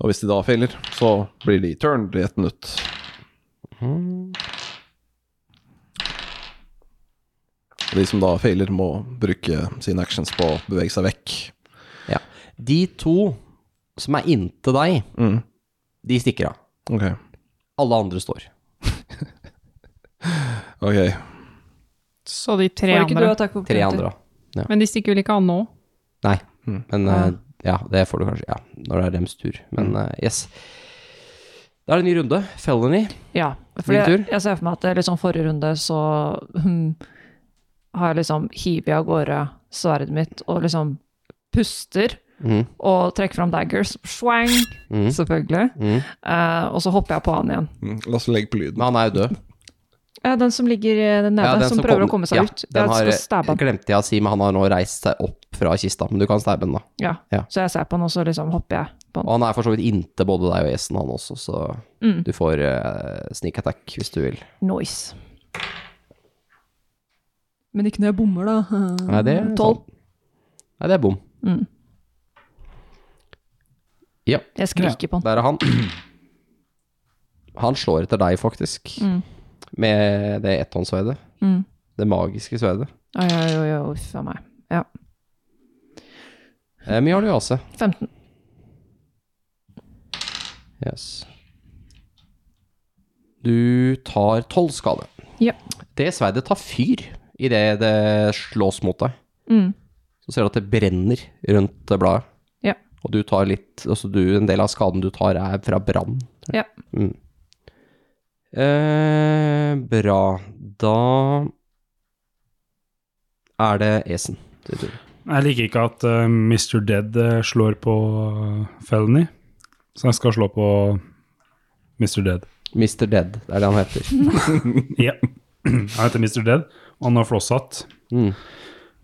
S3: Og hvis de da feiler, så blir de turned i ett minutt.
S2: Mhm.
S3: Og de som da feiler, må bruke sine actions på å bevege seg vekk.
S2: De to som er inntil deg,
S3: Mm.
S2: de stikker av.
S3: Ok.
S2: Alle andre står.
S3: Ok.
S4: Så de tre
S6: Får ikke du
S4: andre.
S6: attack of
S2: Tre
S6: opportunity?
S2: andre.
S4: Men de stikker vel ikke av nå?
S2: Nei,
S3: Mm.
S2: men
S6: Ah.
S2: eh, ja, det får du kanskje. Ja, når det er deres tur. Men eh, yes. Da er det en ny runde. Felony.
S6: Ja, for
S2: Din
S6: jeg,
S2: tur.
S6: jeg ser for meg at det er liksom forrige runde så hmm, har jeg liksom hivet av gårde sverdet mitt og liksom puster
S2: Mhm.
S6: og trekker fram daggers. Swang,
S2: Mhm.
S6: selvfølgelig.
S2: Mhm.
S6: Eh, og så hopper jeg på han igjen.
S3: Mm. La oss legge på lyden.
S2: Men han er jo død.
S6: Ja, den som ligger eh, nede,
S2: Ja, den
S6: som, prøver
S2: kom-
S6: å komme seg
S2: ja,
S6: ut.
S2: Den
S6: Jeg
S2: har, eh,
S6: skal stabbe han.
S2: glemte jeg å si, men han har nå reist seg opp fra kista. Men du kan stabbe den, da.
S6: Ja.
S2: ja.
S6: Så jeg ser på han, og så liksom hopper jeg på
S2: Og
S6: han.
S2: han er for så vidt inntil både deg og gjesten, han også, så
S6: Mm.
S2: du får eh, sneak attack hvis du vil.
S6: Noise. Men ikke når jeg bommer, da.
S2: Nei, det er
S6: Mm. Tolv.
S2: sant. Nei, det er bom.
S6: Mm.
S2: Ja,
S6: Jeg skriker på han.
S2: der er han. Han slår etter deg, faktisk.
S6: Mm.
S2: Med det etthåndssverdet.
S6: Mm.
S2: Det magiske sverdet.
S6: Oi, oi, oi, oi, uff a meg.
S2: Eh, mye har du i AC.
S6: 15.
S2: Yes. Du tar tolv skade.
S6: Ja.
S2: Det sverdet tar fyr idet det slås mot deg.
S6: Mm.
S2: Så ser du at det brenner rundt bladet.
S6: Ja.
S2: Og du tar litt Altså du, en del av skaden du tar, er fra brann.
S6: Ja.
S2: Mm. Eh, bra. Da er det Esen. sin tur.
S5: Jeg liker ikke at eh, Mr. Dead eh, slår på eh, Felony, så jeg skal slå på Mr. Dead.
S2: Mr. Dead, det er det han heter.
S5: Ja. Han heter Mr. Dead, og han har flosshatt
S2: Mm.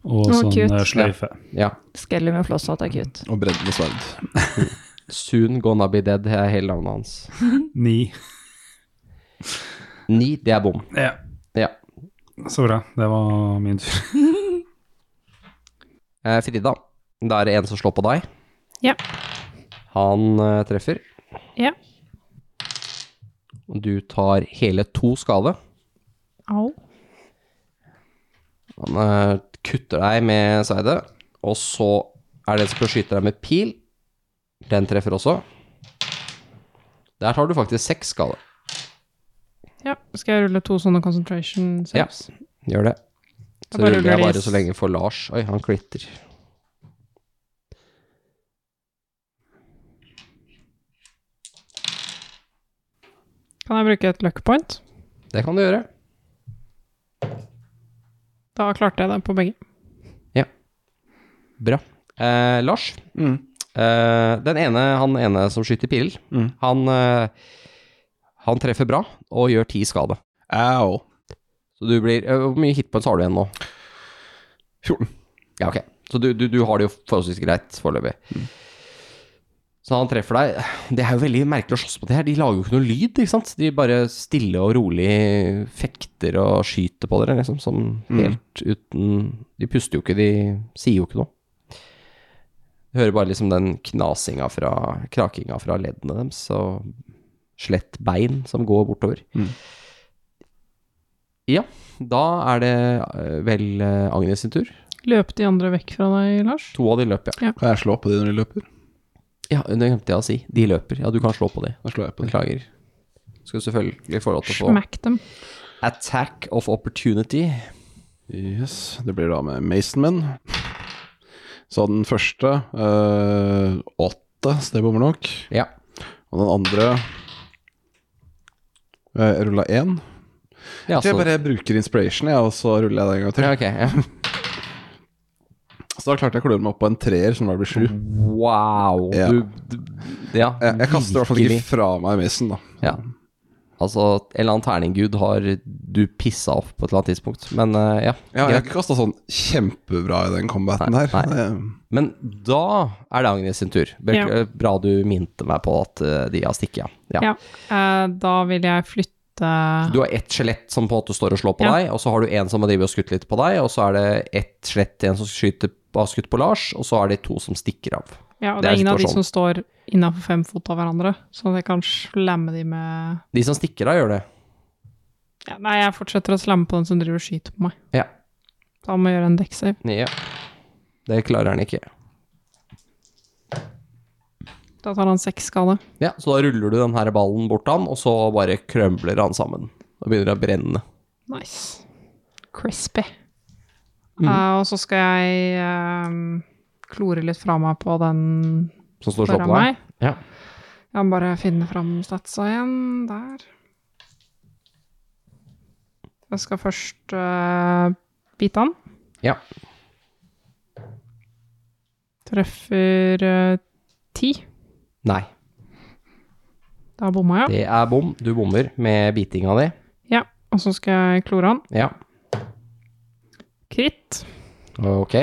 S5: og
S4: Å,
S5: sånn
S4: cute.
S5: eh, sløyfe.
S2: Ja.
S6: Skelly med flosshatt er cute.
S3: Og breddende sverd.
S2: Soon Gonna Be Dead er hele navnet hans.
S5: Ni.
S2: Ni, det er bom.
S5: Ja.
S2: Ja.
S5: Så bra. Det var min tur.
S2: Eh, Frida, da er det en som slår på deg.
S4: Ja.
S2: Han eh, treffer.
S4: Ja.
S2: Og Du tar hele to skade.
S4: Au.
S2: Han eh, kutter deg med seidet, og så er det en som beskytter deg med pil. Den treffer også. Der tar du faktisk seks skade.
S4: Ja, skal jeg rulle to sånne concentration saves?
S2: Gjør det.
S4: Jeg
S2: Så
S4: bare
S2: ruller jeg
S4: ruller
S2: bare
S4: de-
S2: så lenge for Lars. Oi, han klitter.
S4: Kan jeg bruke et luck point?
S2: Det kan du gjøre.
S4: Da klarte jeg det på begge.
S2: Bra. Eh, Lars, eh, den ene, han ene som skyter pil,
S3: Mm.
S2: han, eh, han treffer bra og gjør ti skade.
S3: Au.
S2: Så du blir, eh, Hvor mye hitpoints har du igjen nå?
S3: 14.
S2: Ja, ok. Så du, du, du har det jo forholdsvis greit foreløpig. Så han treffer deg. Det er jo veldig merkelig å slåss på det her. De lager jo ikke noe lyd, ikke sant? De bare stille og rolig fekter og skyter på dere, liksom, som helt uten De puster jo ikke, de sier jo ikke noe. Du hører bare liksom den knasinga fra Krakinga fra leddene deres og slett bein som går bortover. Ja, da er det eh, vel eh, Agnes sin tur.
S4: Løp de andre vekk fra deg, Lars?
S2: To av de løp, ja.
S3: Kan jeg slå på de når de løper?
S2: Ja, det glemte jeg å si. De løper. Ja, du kan slå på de.
S3: Da slår jeg på de.
S2: Beklager. Skal selvfølgelig få lov til å få
S4: Smack dem.
S2: Attack of opportunity.
S3: Yes, det blir da med Mason min. Så den første eh, åtte, så det bommer nok.
S2: Ja.
S3: Og den andre uh, rulla én. Altså-
S2: Ja,
S3: Jeg
S2: så,
S3: bare bruker inspiration, jeg, og så ruller jeg det en gang til.
S2: ja, ok. Ja.
S3: Så da klarte jeg å klore meg opp på en treer, som da blir sju.
S2: Wow.
S3: Ja.
S2: Du, du Ja.
S3: Jeg, jeg kaster i hvert fall ikke
S2: virkelig.
S3: fra meg Mason, da.
S2: Ja. Altså, en eller annen terninggud har du pissa opp på et eller annet tidspunkt, men eh, ja.
S3: Ja, jeg har
S2: greit.
S3: ikke kasta sånn kjempebra i den combaten
S2: Nei,
S3: her. Eh,
S2: nei.
S3: Det-
S2: Men da er det Agnes sin tur. Bek- eh,
S4: Ja.
S2: Bra du minte meg på at eh, de har stikket, ja. ja.
S4: Ja. Eh, da vil jeg flytte
S2: Du har ett skjelett som på en måte står og slår på
S4: Ja.
S2: deg, og så har du en som har drevet og skutt litt på deg, og så er det ett skjelett igjen som skyter, har skutt på Lars, og så er det to som stikker av.
S4: Ja, og
S2: det
S4: det
S2: er
S4: er ingen av de
S2: situasjonen.
S4: som står innafor fem fot av hverandre, så jeg kan slamme de med
S2: De som stikker av, gjør det.
S4: ja, Nei, jeg fortsetter å slamme på den som driver og skyter på meg.
S2: Ja.
S4: Da må jeg gjøre en dekksave.
S2: Ja. Det klarer han ikke.
S4: Da tar han seks skade.
S2: Ja, så da ruller du den her ballen bort til han, og så bare krømler han sammen. Og begynner det å brenne.
S4: Nice. Crispy.
S2: Mm.
S4: Eh, og så skal jeg eh, klore litt fra meg på den
S2: Som står og slår
S4: foran
S2: på deg.
S4: meg.
S2: Ja.
S4: Jeg må bare finne fram statsa igjen. Der. Jeg skal først eh, bite han.
S2: Ja.
S4: Treffer eh, ti.
S2: Nei,
S4: Da bomma jeg.
S2: det er bom. Du bommer med bitinga di.
S4: Ja, og så skal jeg klore han.
S2: Ja.
S4: Kritt.
S2: Ok.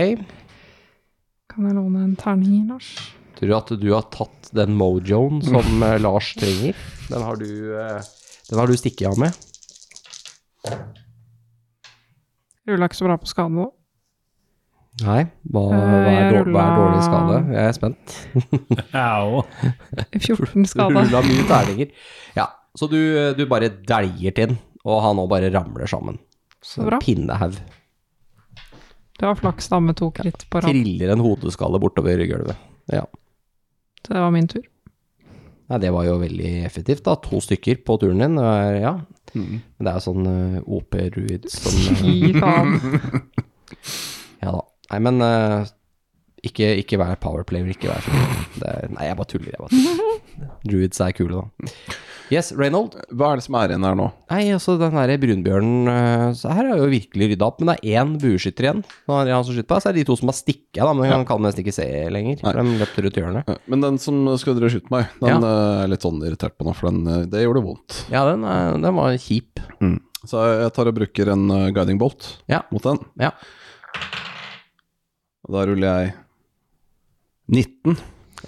S4: Kan jeg låne en terning, Lars?
S2: Tror du at du har tatt den mojoen som eh, Lars trenger? Den har du, eh, den har du stikket av med.
S4: Rulla ikke så bra på skade nå.
S2: Nei, hva, hva, er,
S4: Eh, jeg
S2: dår- hva er dårlig skade?
S4: rullet-
S2: Jeg er spent.
S5: Au.
S4: 14
S2: Du
S4: skade.
S2: rulla mye terninger. Ja, så du, du bare dæljer til den, og han nå bare ramler sammen.
S4: Så bra.
S2: Pinnehaug.
S4: Det var flaks da med to kritt på rad.
S2: Triller en hodeskalle bortover gulvet. Ja.
S4: Det var min tur.
S2: Nei, det var jo veldig effektivt, da. To stykker på turen din. det er- Ja.
S3: Mm.
S2: Men det er jo sånn eh, OP-ruid som eh,
S4: Fy faen.
S2: Ja da. Nei, men eh, ikke, ikke vær powerplayer, ikke vær sånn. Det, er- nei, jeg bare tuller, jeg bare tuller. Druids er kule, da. Yes, Reynold.
S3: Hva er det som er igjen her nå?
S2: Nei, altså den der brunbjørnen eh, så Her er jo virkelig rydda opp, men det er én bueskytter igjen. Nå er det han som skyter på deg, så er det de to som har stikket, da, men han kan nesten ikke se lenger.
S3: Nei.
S2: for De løp rundt hjørnet.
S3: Ja, Eh, Men den som skal dere skyte meg, den
S2: Ja.
S3: eh, er jeg litt sånn irritert på nå, for den, eh, det gjorde vondt.
S2: Ja, den, er, den var kjip.
S3: Så jeg jeg tar og bruker en eh, guiding bolt
S2: Ja.
S3: mot den.
S2: Ja.
S3: Og da ruller jeg 19,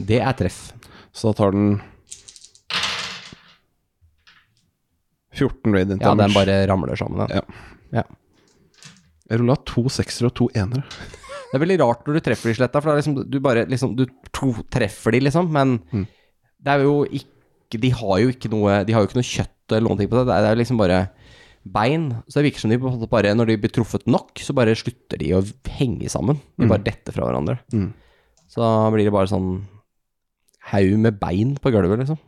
S2: Det er treff.
S3: så da tar den 14 radiant
S2: Ja, den
S3: damage.
S2: bare ramler sammen. Den.
S3: Ja. Jeg rulla to seksere og to enere.
S2: Det er veldig rart når du treffer de sletta, for det er liksom, du bare liksom, du to treffer de, liksom, men det er jo ikke De har jo ikke noe De har jo ikke noe kjøtt eller noen ting på det. Det er- Det er liksom bare bein. Så det virker som de på en måte bare Når de blir truffet nok, så bare slutter de å henge sammen. De bare detter fra hverandre.
S3: Mm.
S2: Så da blir det bare sånn haug med bein på gulvet, liksom.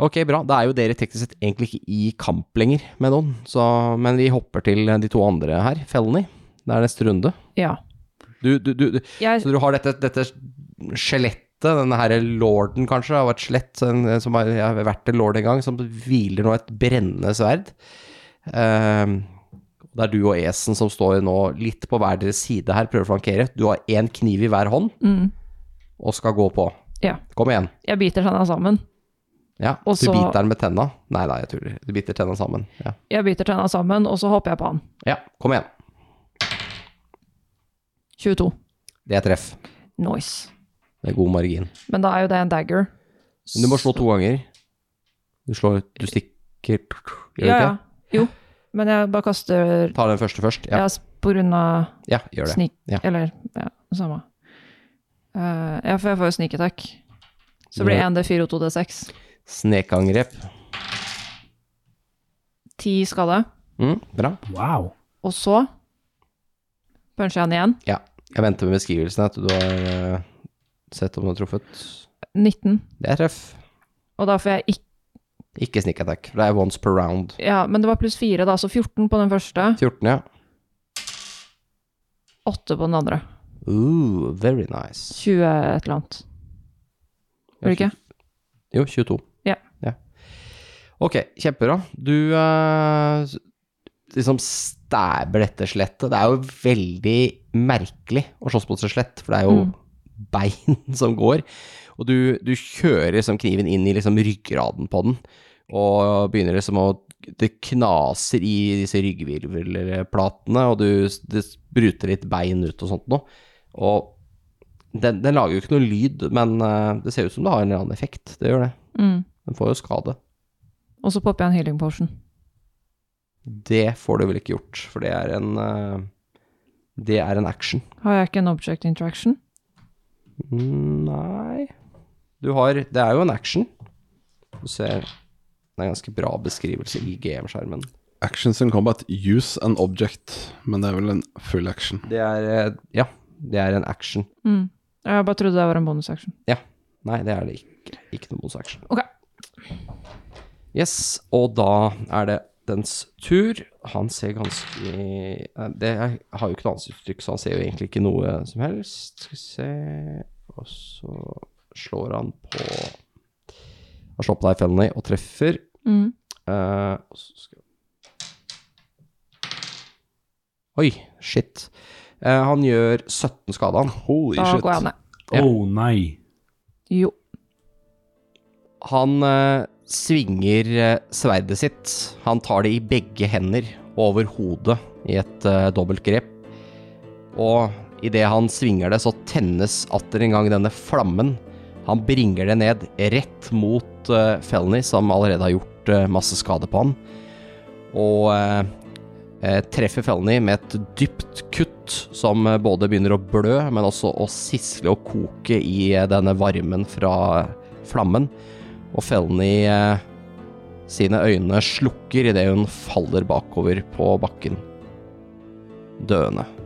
S2: Ok, bra. Da er jo dere teknisk sett egentlig ikke i kamp lenger med noen, så, men vi hopper til de to andre her. Felny, det er neste runde.
S6: Ja.
S2: Du, du, du, du,
S6: Jeg,
S2: så du har dette, dette skjelettet skjelettet, denne her lorden kanskje, av et skjelett en- en som har jeg har vært en lord en gang, som hviler nå et brennende sverd. Ehm, og det er du og Esen som står nå litt på hver deres side her, prøver å flankere. Du har én kniv i hver hånd
S9: Mm.
S2: og skal gå på.
S9: Ja.
S2: Kom igjen.
S9: Jeg biter tenna sammen.
S2: Ja,
S9: Og
S2: Du
S9: så-
S2: biter den med tenna. Nei, nei, jeg tuller. Du biter tenna sammen. Ja.
S9: Jeg biter tenna sammen, og så hopper jeg på han.
S2: ja, kom igjen.
S9: 22.
S2: Det er treff.
S9: Nice.
S2: Det er god margin.
S9: Men da er jo det en dagger.
S2: Men du må slå to ganger. Du slår Du stikker
S9: Ja,
S2: Gjør du ikke
S9: ja.
S2: det?
S9: Jo. Men jeg bare kaster
S2: Ta den første først.
S9: Ja,
S2: Ja,
S9: på grunn av
S2: ja gjør det.
S9: sneak
S2: Ja.
S9: Eller ja, samme. Eh, ja, for jeg får jo sneak attack. Så blir
S2: Ja.
S9: 1D4 og 2D6.
S2: Snekangrep.
S9: 10 skade.
S2: Mm, bra.
S5: Wow.
S9: Og så puncher jeg han igjen.
S2: Jeg venter med beskrivelsen at du har eh, sett om du har truffet.
S9: 19.
S2: Det er treff.
S9: Og da får jeg ikke
S2: Ikke sneak attack, for det er once per round.
S9: Ja, men det var pluss 4, da, så 14 på den første.
S2: 14, ja.
S9: 8 på den andre.
S2: Ooh, very nice.
S9: 20 et eller annet. Gjør det ikke?
S2: Jo, 22.
S9: Ja.
S2: Ok, kjempebra. Du eh, liksom stæber dette skjelettet. Det er jo veldig merkelig å slåss mot et skjelett, for det er jo bein som går. Og du, du kjører liksom kniven inn i liksom ryggraden på den, og begynner liksom å Det knaser i disse ryggvirvelplatene, og du, det spruter litt bein ut og sånt noe. Og den, den lager jo ikke noe lyd, men eh, det ser ut som det har en eller annen effekt. Det gjør det.
S9: Mm.
S2: Den får jo skade.
S9: Og så popper jeg en healing potion.
S2: Det får du vel ikke gjort, for det er en eh, Det er en action.
S9: Har jeg ikke en object interaction?
S2: Nei Du har Det er jo en action. Du ser Det er en ganske bra beskrivelse i GM-skjermen.
S3: Actions in combat, use an object. Men det er vel en full action.
S2: Det er eh, Ja, det er en action.
S9: Mm. Jeg bare trodde det var en bonus action.
S2: Nei, det er det ikke. Ikke noe bonus action.
S9: Ok.
S2: Yes, og da er det dens tur. Han ser ganske eh, Det er, har jo ikke noe ansiktsuttrykk, så han ser jo egentlig ikke noe som helst. Skal vi se Og så slår han på Han slår på deg, Felny, og treffer.
S9: Mm.
S2: Eh, og så skal Oi, shit. Eh, han gjør 17 skade, han.
S3: Holy
S9: Da
S3: shit.
S9: går jeg ned.
S5: Å oh, nei.
S9: Jo.
S2: Han eh, svinger eh, sverdet sitt. Han tar det i begge hender og over hodet i et eh, dobbelt grep. Og idet han svinger det, så tennes atter en gang denne flammen. Han bringer det ned rett mot eh, Felny, som allerede har gjort eh, masse skade på han. Og eh, eh, treffer Felny med et dypt kutt som eh, både begynner å blø, men også å sisle og koke i eh, denne varmen fra eh, flammen og fellen i eh, sine øyne slukker idet hun faller bakover på bakken, døende.